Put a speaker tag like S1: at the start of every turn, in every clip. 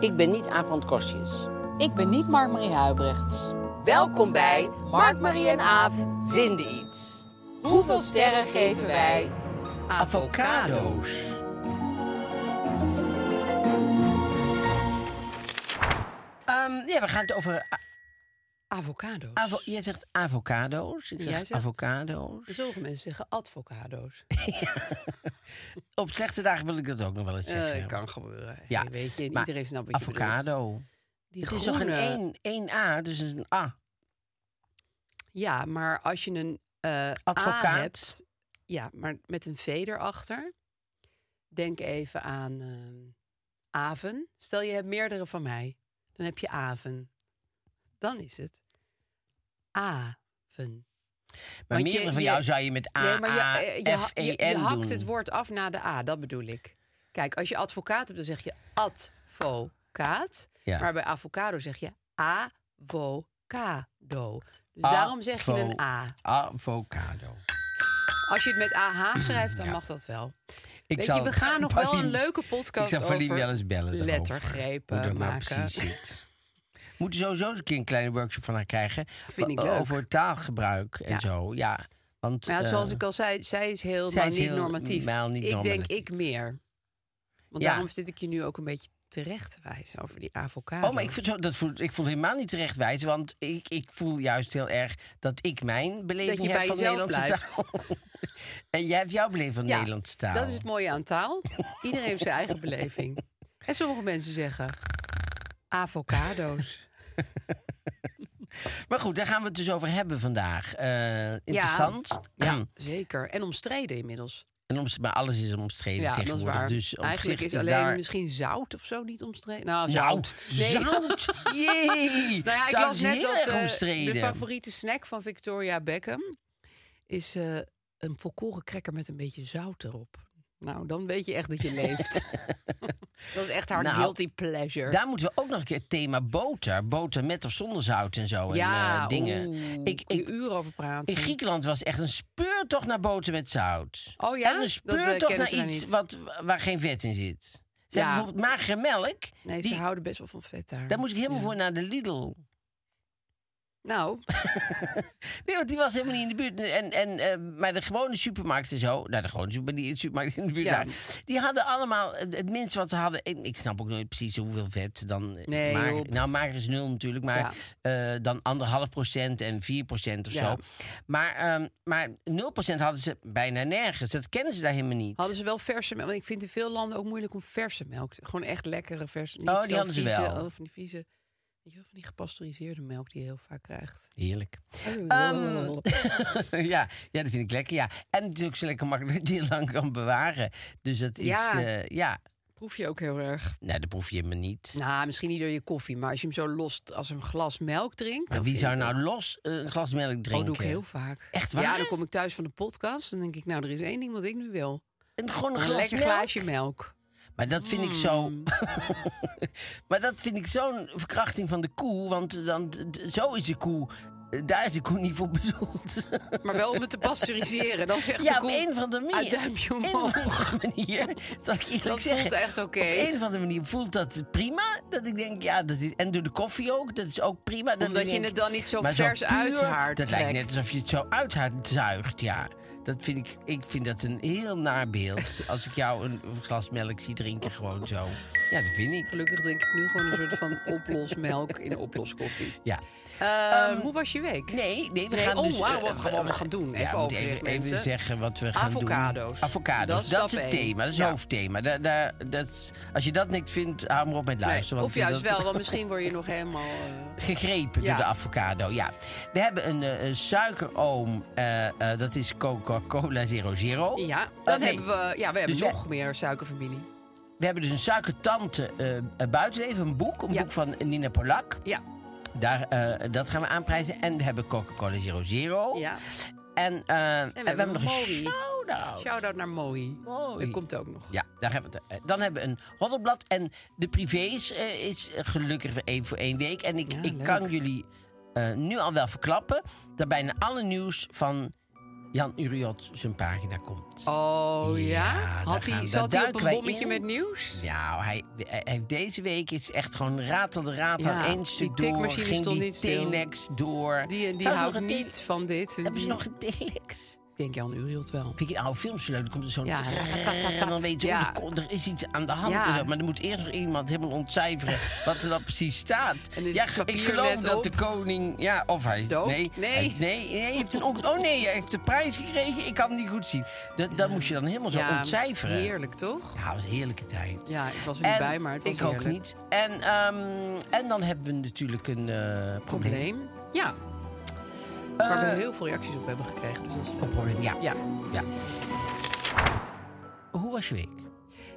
S1: Ik ben niet Aaf van Kostjes.
S2: Ik ben niet Mark-Marie Huibrechts.
S1: Welkom bij Mark, Marie en Aaf vinden iets. Hoeveel sterren geven wij avocado's? Ehm, ja, we gaan het over a-
S3: Avocado's.
S1: avo- jij zegt avocado's. Ik
S3: En
S1: zeg
S3: jij zegt-
S1: avocado's.
S3: Sommige mensen zeggen advocado's.
S1: Op slechte dagen wil ik dat ook nog wel eens
S3: Eh,
S1: zeggen.
S3: kan gebeuren.
S1: Ja,
S3: Hey, weet je, en
S1: maar
S3: iedereen snapt wat je bedoelt.
S1: Avocado.
S3: Die
S1: Het is toch een
S3: groene-
S1: 1, 1A, dus het is een A.
S3: Ja, maar als je een eh, A
S1: Advocaat.
S3: hebt, ja, maar met een V erachter. Denk even aan ehm, aven. Stel je hebt meerdere van mij, dan heb je aven. Dan is het aven.
S1: Maar
S3: Want je-
S1: meerdere van
S3: je-
S1: jou zou je met A,
S3: Nee, maar je,
S1: A,
S3: eh, je, ha-
S1: F, E,
S3: je,
S1: N
S3: je hakt
S1: doen.
S3: het woord af na de A, dat bedoel ik. Kijk, als je advocaat hebt, dan zeg je advocaat.
S1: Ja.
S3: Maar bij avocado zeg je avocado. Dus daarom zeg je een A.
S1: Avocado.
S3: Als je het met AH schrijft, dan mag dat wel.
S1: Mm, Ik
S3: Weet je, we gaan nog wel een leuke podcast
S1: Ik zal Paulien
S3: over
S1: wel eens bellen daarover,
S3: lettergrepen
S1: hoe dat nou
S3: maken.
S1: precies zit. We moeten sowieso eens een keer een kleine workshop van haar krijgen.
S3: Vind ik
S1: o-
S3: leuk.
S1: Over taalgebruik en
S3: Ja.
S1: zo, ja. Want,
S3: Maar ja,
S1: eh,
S3: zoals ik al zei, zij is heel,
S1: zij
S3: maar
S1: is
S3: niet
S1: heel-
S3: normatief.
S1: maar niet
S3: ik denk
S1: normatief.
S3: ik meer. Want
S1: Ja.
S3: daarom zit ik je nu ook een beetje terecht te wijzen over die avocado.
S1: Oh, maar ik voel, zo- dat voel, ik voel helemaal niet terechtwijs, want ik, ik voel juist heel erg dat ik mijn beleving
S3: je
S1: heb
S3: bij
S1: van de
S3: jezelf
S1: Nederlandse taal. en jij hebt jouw beleving van de
S3: Ja,
S1: Nederlandse taal.
S3: Dat is het mooie aan taal. Iedereen heeft zijn eigen beleving. En sommige mensen zeggen avocado's.
S1: Maar goed, daar gaan we het dus over hebben vandaag. Eh, interessant.
S3: Ja, zeker. En omstreden inmiddels.
S1: En om, maar alles is omstreden
S3: Ja, dat is
S1: tegenwoordig.
S3: waar.
S1: Dus op
S3: Eigenlijk
S1: zich
S3: is alleen
S1: daar...
S3: misschien zout of zo niet omstreden. Nou,
S1: Zout.
S3: zout. Nee.
S1: Zout. Jee.
S3: Nou ja, ik
S1: Zout
S3: las
S1: is
S3: net
S1: heel
S3: dat
S1: erg
S3: eh,
S1: omstreden.
S3: de favoriete snack van Victoria Beckham is eh, een volkoren cracker met een beetje zout erop. Nou, dan weet je echt dat je leeft. dat is echt haar
S1: Nou,
S3: guilty pleasure.
S1: Daar moeten we ook nog een keer het thema boter. Boter met of zonder zout en zo. en, eh, dingen.
S3: oeh,
S1: ik,
S3: kun je
S1: ik,
S3: uren over praten.
S1: in Griekenland was echt een speurtocht naar boter met zout.
S3: Oh
S1: En
S3: ja?
S1: een
S3: Dat, eh,
S1: speurtocht
S3: kennen
S1: naar
S3: ze daar
S1: iets
S3: niet.
S1: wat, waar geen vet in zit. Ze
S3: Ja.
S1: hebben bijvoorbeeld magere melk.
S3: Nee, ze
S1: die,
S3: houden best wel van vet daar.
S1: daar moest ik helemaal
S3: Ja.
S1: voor naar de Lidl.
S3: Nou,
S1: Nee, want die was helemaal niet in de buurt. En, en, eh, maar de gewone supermarkt en zo... Nou, de gewone supermarkt, die supermarkt in de buurt
S3: Ja.
S1: daar... Die hadden allemaal het het minste wat ze hadden... en Ik snap ook nooit precies hoeveel vet dan... eh,
S3: Nee,
S1: mager-
S3: joh.
S1: nou, mager is nul natuurlijk, maar eh, dan anderhalf procent en 4 procent of
S3: Ja.
S1: zo. Maar, ehm maar 0 procent hadden ze bijna nergens. Dat kennen ze daar helemaal niet.
S3: hadden ze wel verse melk? Want ik vind in veel landen ook moeilijk om verse melk. te- Gewoon echt lekkere verse. Niet
S1: Oh, die
S3: zo
S1: hadden ze
S3: vieze,
S1: wel.
S3: oh, van die vieze, weet je wel, van die gepasteuriseerde melk die je heel vaak krijgt.
S1: Heerlijk. Ehm, ja, ja, dat vind ik lekker, ja. En natuurlijk zo lekker makkelijk dat je het lang kan bewaren. Dus dat is...
S3: Ja.
S1: eh, ja.
S3: Proef je ook heel erg.
S1: Nou, dat proef je helemaal niet.
S3: Nou, misschien niet door je koffie, maar als je hem zo lost als een glas melk drinkt.
S1: Maar
S3: dan
S1: wie
S3: vind
S1: zou
S3: ik
S1: nou
S3: dat-
S1: los eh, een glas melk drinken?
S3: Oh, doe ik heel vaak.
S1: Echt waar?
S3: Ja, dan kom ik thuis van de podcast en denk ik, nou, er is één ding wat ik nu wil.
S1: Een, gewoon een
S3: Een
S1: glas
S3: lekker
S1: melk?
S3: glaasje Mm. melk.
S1: Maar dat vind ik zo... maar dat vind ik zo'n verkrachting van de koe. Want dan, d- d- zo is de koe... eh, Daar is de koe niet voor bedoeld.
S3: Maar wel om het te pasteuriseren. Dan zegt
S1: ja,
S3: de
S1: op
S3: koe,
S1: een of andere
S3: "Ah,
S1: manier.
S3: duimpje
S1: Een
S3: omhoog."
S1: of andere manier. Zal ik eerlijk
S3: Dat
S1: zeggen.
S3: voelt echt oké.
S1: Op een of andere manier voelt dat prima. Dat ik denk, ja, dat is, en door de koffie ook. Dat is ook prima. Dat
S3: Omdat
S1: ik
S3: je
S1: denk,
S3: het dan niet zo
S1: maar
S3: vers
S1: puur,
S3: uit haar
S1: Dat lijkt net
S3: trekt.
S1: alsof je het zo uit haar zuigt, ja. Dat vind ik, ik vind dat een heel naar beeld. Als ik jou een glas melk zie drinken, gewoon zo. Ja, dat vind ik.
S3: Gelukkig drink ik nu gewoon een soort van oplosmelk in oploskoffie.
S1: Ja.
S3: Eh, hoe was je week?
S1: Ehm, Nee, nee, we
S3: Nee,
S1: gaan
S3: oh,
S1: dus...
S3: wauw,
S1: eh,
S3: wat gaan we allemaal gaan doen?
S1: ja,
S3: Even
S1: we moeten
S3: overzicht,
S1: even, even
S3: mensen.
S1: zeggen wat we gaan doen.
S3: Avocado's. Dat
S1: Avocado's.
S3: is
S1: Dat,
S3: stap
S1: is het
S3: één.
S1: thema, dat is
S3: Ja.
S1: hoofdthema. Daar, daar, dat, is- als je dat niks vindt, hou maar op met
S3: Nee,
S1: luisteren.
S3: of
S1: want
S3: juist
S1: dat-
S3: wel, want misschien word je nog helemaal... eh,
S1: gegrepen
S3: Ja.
S1: door de avocado. Ja. We hebben een eh, een suikeroom, eh, eh, dat is Coca-Cola 00.
S3: Ja,
S1: Eh,
S3: dan
S1: nee,
S3: hebben we, ja, we hebben
S1: Dus wij-
S3: nog meer suikerfamilie.
S1: We hebben dus een suikertante eh, eh, buitenleven, een boek, een
S3: Ja.
S1: boek van Nina Polak.
S3: Ja,
S1: Daar, eh, dat gaan we aanprijzen. En we hebben Coca-Cola 00.
S3: ja.
S1: En, eh, en we, hebben nog
S3: Mowi.
S1: een shout-out.
S3: Shout-out naar Mooi.
S1: Oh. Mooi.
S3: Dat komt ook nog.
S1: Ja, daar hebben we het. eh, Dan hebben we een roddelblad. En de privés eh, is eh, gelukkig weer één voor één week. En ik,
S3: Ja,
S1: ik
S3: leuk.
S1: kan jullie eh, nu al wel verklappen... dat bijna alle nieuws van Jan Uriot zijn pagina komt.
S3: Oh ja?
S1: Ja, daar
S3: Had
S1: gaan-
S3: hij,
S1: daar
S3: zat hij op
S1: duiken
S3: een
S1: wij
S3: bommetje
S1: in.
S3: met nieuws?
S1: Nou, hij, hij heeft deze week is echt gewoon ratelde ratel
S3: Ja,
S1: één
S3: die
S1: stuk door.
S3: tikmachine
S1: Ging
S3: stond
S1: die
S3: niet stil.
S1: telex door.
S3: Die, die
S1: Trouwens,
S3: houdt
S1: nog een tele-
S3: niet van dit.
S1: Hebben ze
S3: Die-
S1: nog een telex?
S3: Ik denk Jan Urielt wel.
S1: Vind ik oude films zo leuk. Dan komt er zo'n...
S3: Ja,
S1: trrrr, En dan weet je, oh,
S3: ja.
S1: er ko- er is iets aan de hand.
S3: Ja.
S1: en zo. Maar dan moet eerst nog iemand helemaal ontcijferen wat er dan precies staat.
S3: En is
S1: ja,
S3: het papier
S1: ik geloof
S3: net
S1: dat
S3: op?
S1: de koning... Ja, of hij...
S3: Dood?
S1: Nee,
S3: Nee.
S1: hij- nee, hij heeft een, on- oh nee, hij heeft de prijs gekregen. Ik kan het niet goed zien. Dat, dat moest je dan helemaal zo
S3: Ja,
S1: ontcijferen.
S3: Heerlijk, toch?
S1: Ja, het was een heerlijke tijd.
S3: Ja, ik was er niet
S1: En
S3: bij, maar het was
S1: Ik ook
S3: heerlijk.
S1: niet. En, ehm, en dan hebben we natuurlijk een eh, probleem. Eh,
S3: Probleem. Ja. Waar we heel veel reacties op hebben gekregen. Dus dat is
S1: Een
S3: leuk.
S1: probleem, ja.
S3: Ja.
S1: ja. Hoe was je week?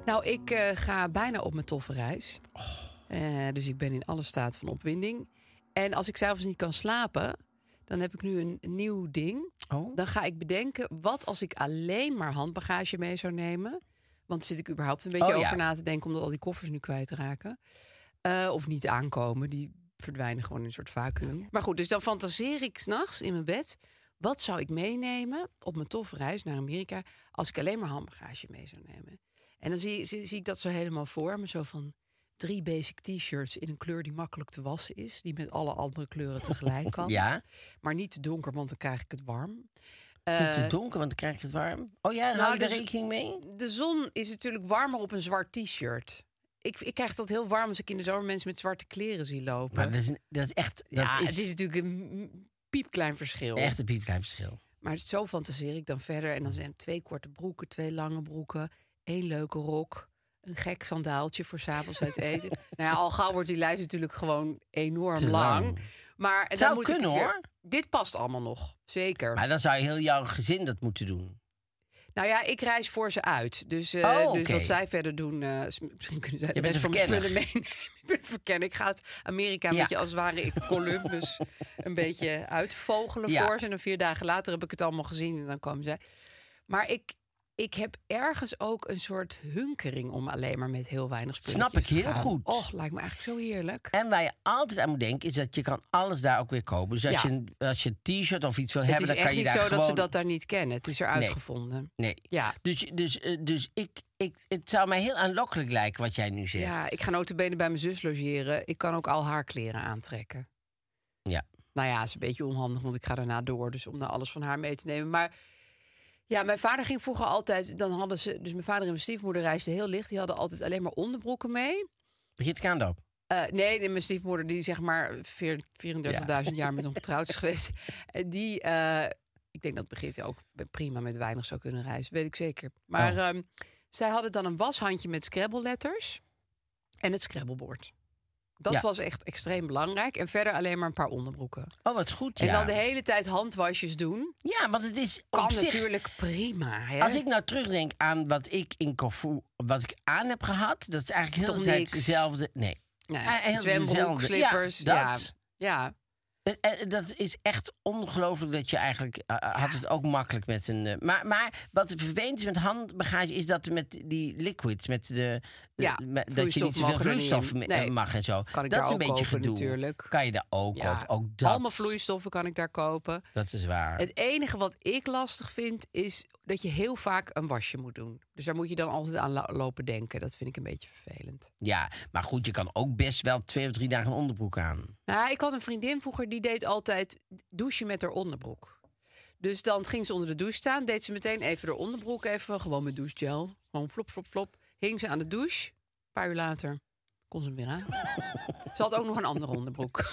S3: Nou, ik eh, ga bijna op mijn toffe reis.
S1: Oh.
S3: Eh, dus ik ben in alle staat van opwinding. En als ik s'avonds niet kan slapen, dan heb ik nu een nieuw ding.
S1: Oh.
S3: Dan ga ik bedenken, wat als ik alleen maar handbagage mee zou nemen? Want zit ik überhaupt een beetje
S1: Oh, ja.
S3: over na te denken... omdat al die koffers nu kwijtraken. Eh of niet aankomen, die verdwijnen gewoon in een soort vacuüm. Maar goed, dus dan fantaseer ik s'nachts in mijn bed... wat zou ik meenemen op mijn toffe reis naar Amerika... als ik alleen maar handbagage mee zou nemen? En dan zie, zie, zie ik dat zo helemaal voor me, zo van... Drie basic t-shirts in een kleur die makkelijk te wassen is. Die met alle andere kleuren tegelijk kan.
S1: Ja,
S3: Maar niet te donker, want dan krijg ik het warm. Eh,
S1: niet te donker, want dan krijg je het warm. Oh ja, hou je daar
S3: dus-
S1: rekening mee?
S3: De zon is natuurlijk warmer op een zwart t-shirt. Ik, ik krijg dat heel warm als ik in de zomer mensen met zwarte kleren zie lopen.
S1: Maar dat is, een- dat is echt... Dat
S3: ja,
S1: is,
S3: het is natuurlijk een m- piepklein verschil.
S1: echt een piepklein verschil.
S3: Maar zo fantaseer ik dan verder. En dan zijn het twee korte broeken, twee lange broeken, één leuke rok, een gek sandaaltje voor s'avonds uit eten. nou ja, al gauw wordt die lijst natuurlijk gewoon enorm
S1: Te
S3: lang.
S1: lang.
S3: Maar dan
S1: Zou
S3: moet ik
S1: kunnen,
S3: het weer-
S1: hoor.
S3: Dit past allemaal nog, zeker.
S1: Maar dan zou je heel jouw gezin dat moeten doen.
S3: Nou ja, ik reis voor ze uit. Dus, eh,
S1: Oh,
S3: dus
S1: oké.
S3: wat zij verder doen, eh, is- misschien kunnen zij de
S1: bent
S3: rest van
S1: een
S3: mijn spullen
S1: verkenner.
S3: meenemen. ik ben een verkenner. Ik ga het Amerika een
S1: Ja.
S3: beetje als het ware ik Columbus een beetje uitvogelen
S1: Ja.
S3: voor ze. En dan vier dagen later heb ik het allemaal gezien en dan komen zij. Maar ik, ik heb ergens ook een soort hunkering om alleen maar met heel weinig spullen.
S1: Snap ik heel goed.
S3: Och, lijkt me eigenlijk zo heerlijk.
S1: En waar je altijd aan moet denken, is dat je kan alles daar ook weer kopen. Dus als
S3: Ja.
S1: je een als je een t-shirt of iets wil
S3: Het
S1: hebben,
S3: is
S1: dan
S3: echt
S1: kan je
S3: niet zo
S1: daar gewoon...
S3: dat ze dat daar niet kennen. Het is er uitgevonden.
S1: Nee.
S3: Ja.
S1: Dus, dus, eh, dus ik, ik, het zou mij heel aanlokkelijk lijken wat jij nu zegt.
S3: Ja, ik ga notabene bij mijn zus logeren. Ik kan ook al haar kleren aantrekken.
S1: Ja.
S3: Nou ja, is een beetje onhandig, want ik ga daarna door. Dus om nou alles van haar mee te nemen. Maar ja, mijn vader ging vroeger altijd... Dan hadden ze, dus mijn vader en mijn stiefmoeder reisden heel licht. Die hadden altijd alleen maar onderbroeken mee.
S1: Brigitte Kaandorp.
S3: Eh, nee, nee, mijn stiefmoeder, die zeg maar veer- 34.000 jaar met hem getrouwd is geweest. eh, Die, eh, ik denk dat Brigitte ook prima met weinig zou kunnen reizen. Weet ik zeker. Maar
S1: Oh.
S3: ehm, zij hadden dan een washandje met scrabble-letters en het scrabblebord. Dat
S1: Ja.
S3: was echt extreem belangrijk. En verder alleen maar een paar onderbroeken.
S1: Oh, wat goed,
S3: En
S1: ja.
S3: dan de hele tijd handwasjes doen.
S1: Ja, want het is
S3: Kan
S1: op zich...
S3: natuurlijk prima. Hè?
S1: Als ik nou terugdenk aan wat ik in Corfu, wat ik aan heb gehad, dat is eigenlijk heel
S3: Toch
S1: de tijd
S3: niks.
S1: hetzelfde. Nee.
S3: nou,
S1: eh, heel
S3: zwembroek,
S1: hetzelfde.
S3: slippers.
S1: Ja,
S3: Ja,
S1: dat.
S3: ja.
S1: Eh, eh, Dat is echt ongelooflijk dat je eigenlijk... eh, eh, had het ook makkelijk met een... eh, maar, maar wat vervelend is met handbagage... is dat met die liquids, met de... de-
S3: Ja,
S1: met- dat je
S3: vloeistof
S1: niet te
S3: mogen
S1: veel
S3: er niet in.
S1: vloeistof me-
S3: Nee.
S1: eh, mag en zo.
S3: Kan
S1: dat
S3: ik daar
S1: is een
S3: ook
S1: beetje
S3: kopen
S1: gedoe.
S3: natuurlijk.
S1: Kan je daar ook
S3: ja.
S1: kopen. Ook dat,
S3: Allemaal vloeistoffen kan ik daar kopen.
S1: dat is waar.
S3: Het enige wat ik lastig vind is dat je heel vaak een wasje moet doen. Dus daar moet je dan altijd aan lo- lopen denken. Dat vind ik een beetje vervelend.
S1: Ja, maar goed, je kan ook best wel twee of drie dagen een onderbroek aan.
S3: Nou, ik had een vriendin vroeger die deed altijd douchen met haar onderbroek. Dus dan ging ze onder de douche staan. Deed ze meteen even haar onderbroek even. Gewoon met douchegel. Gewoon flop, flop, flop. Hing ze aan de douche. Een paar uur later kon ze hem weer aan. ze had ook nog een andere onderbroek.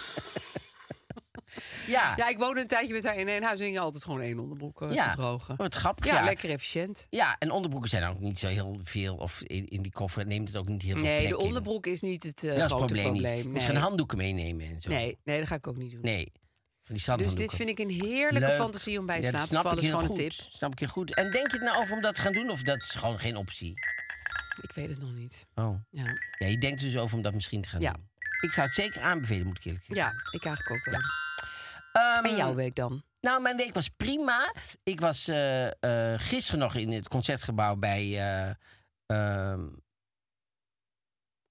S1: Ja,
S3: Ja, ik woonde een tijdje met haar in één huis. En hing altijd gewoon één onderbroek eh,
S1: Ja.
S3: te drogen.
S1: wat grappig.
S3: Ja,
S1: Ja,
S3: lekker efficiënt.
S1: Ja, en onderbroeken zijn ook niet zo heel veel. Of in, in die koffer neemt het ook niet heel veel
S3: Nee,
S1: plek
S3: de
S1: in.
S3: onderbroek is niet het eh,
S1: Dat is het
S3: grote
S1: probleem,
S3: probleem.
S1: niet. Moet
S3: Nee.
S1: je geen handdoeken meenemen en zo.
S3: nee, nee, dat ga ik ook niet doen.
S1: Nee. Van die
S3: Dus
S1: zandhanddoeken.
S3: dit vind ik een heerlijke
S1: Leuk.
S3: fantasie om
S1: Ja,
S3: bij slaap
S1: dat
S3: te
S1: snap
S3: vallen.
S1: ik
S3: Is
S1: heel
S3: gewoon een
S1: goed.
S3: tip.
S1: Snap ik heel goed. En denk je het nou over om dat te gaan doen? Of dat is gewoon geen optie?
S3: Ik weet het nog niet.
S1: Oh.
S3: Ja,
S1: Ja, je denkt dus over om dat misschien te gaan
S3: Ja.
S1: doen. Ik zou het zeker aanbevelen, moet ik eerlijk zeggen.
S3: ja ik eigenlijk ook wel.
S1: Ehm,
S3: En jouw week dan?
S1: Nou, mijn week was prima. Ik was eh, eh, gisteren nog in het concertgebouw bij eh, ehm,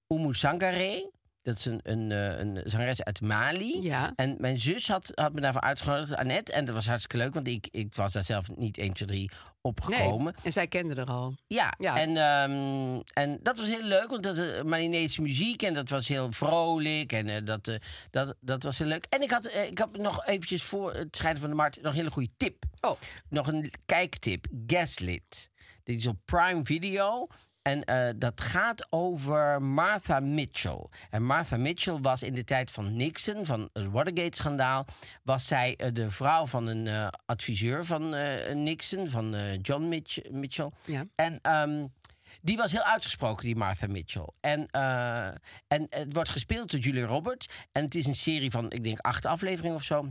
S1: Umu Sangare. Dat is een, een, eh, een zangeres uit Mali.
S3: Ja.
S1: En mijn zus had, had me daarvoor uitgenodigd, Annette. En dat was hartstikke leuk, want ik, ik was daar zelf niet 1, 2, 3 opgekomen.
S3: Nee. En zij kende er al.
S1: Ja,
S3: Ja.
S1: En, ehm, en dat was heel leuk, want dat eh, Malinese muziek en dat was heel vrolijk en eh, dat, eh, dat, dat was heel leuk. En ik had, eh, ik had nog eventjes voor het scheiden van de markt nog een hele goede tip.
S3: Oh.
S1: Nog een kijktip, Gaslit. Dit is op Prime Video en eh, dat gaat over Martha Mitchell. En Martha Mitchell was in de tijd van Nixon, van het Watergate-schandaal... was zij eh, de vrouw van een eh, adviseur van eh, Nixon, van eh, John Mitch- Mitchell.
S3: Ja.
S1: En ehm, die was heel uitgesproken, die Martha Mitchell. En, eh, en het wordt gespeeld door Julia Roberts. En het is een serie van, ik denk, acht afleveringen of zo.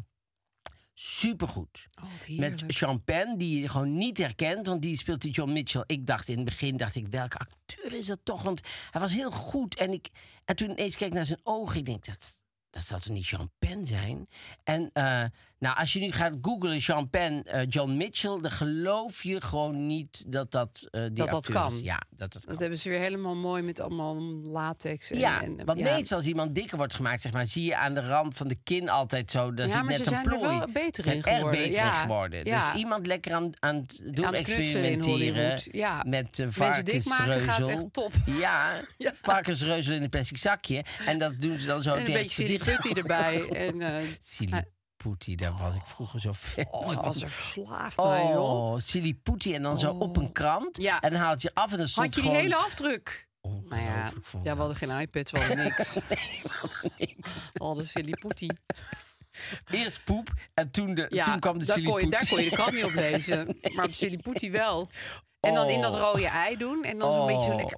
S1: Supergoed.
S3: Oh, wat
S1: Met
S3: heerlijk.
S1: Champagne, die je gewoon niet herkent, want die speelt die John Mitchell. Ik dacht in het begin, dacht ik, welke acteur is dat toch? Want hij was heel goed. En, ik, en toen ineens keek ik naar zijn ogen, ik denk, dat, dat zal toch niet Champagne zijn? En eh, nou, als je nu gaat googlen Champagne, eh, John Mitchell, dan geloof je gewoon niet dat dat eh, die
S3: Dat dat
S1: acteur is.
S3: kan.
S1: Ja, dat dat kan.
S3: Dat hebben ze weer helemaal mooi met allemaal latex. En,
S1: Ja,
S3: en, eh,
S1: want meestal als iemand dikker wordt gemaakt, zeg maar, zie je aan de rand van de kin altijd zo. Daar
S3: Ja,
S1: zit
S3: maar
S1: net
S3: ze
S1: een
S3: zijn er
S1: plooi.
S3: wel beter
S1: Ze zijn
S3: in
S1: Echt
S3: geworden,
S1: beter in
S3: ja.
S1: geworden.
S3: Ja.
S1: Dus iemand lekker aan, aan het doen
S3: Aan het knutselen in
S1: experimenteren.
S3: Hollywood, ja.
S1: Met eh,
S3: Mensen dik maken gaat
S1: varkensreuzel.
S3: echt top.
S1: Ja, varkensreuzel in een plastic zakje. En dat doen ze dan zo
S3: en een
S1: tegen
S3: beetje
S1: het gezicht.
S3: siliputty erbij. En, eh
S1: Siliputi, daar was ik vroeger zo fan
S3: oh, ik
S1: van.
S3: was er verslaafd aan, joh. Oh.
S1: Oh, Siliputi en dan zo op een krant.
S3: Ja.
S1: En dan haalt je af en dan stond
S3: Had je die
S1: gewoon...
S3: hele afdruk? Nou ja,
S1: Ongelooflijk voor
S3: ja, we
S1: me.
S3: hadden geen iPad, we hadden niks.
S1: niks.
S3: We hadden siliputty.
S1: Eerst poep en toen, de,
S3: Ja,
S1: toen kwam de
S3: daar kon je,
S1: Siliputi.
S3: daar kon je de krant niet op lezen. Maar op Siliputi wel. En dan in dat
S1: Oh.
S3: rode ei doen en dan zo'n beetje zo lekker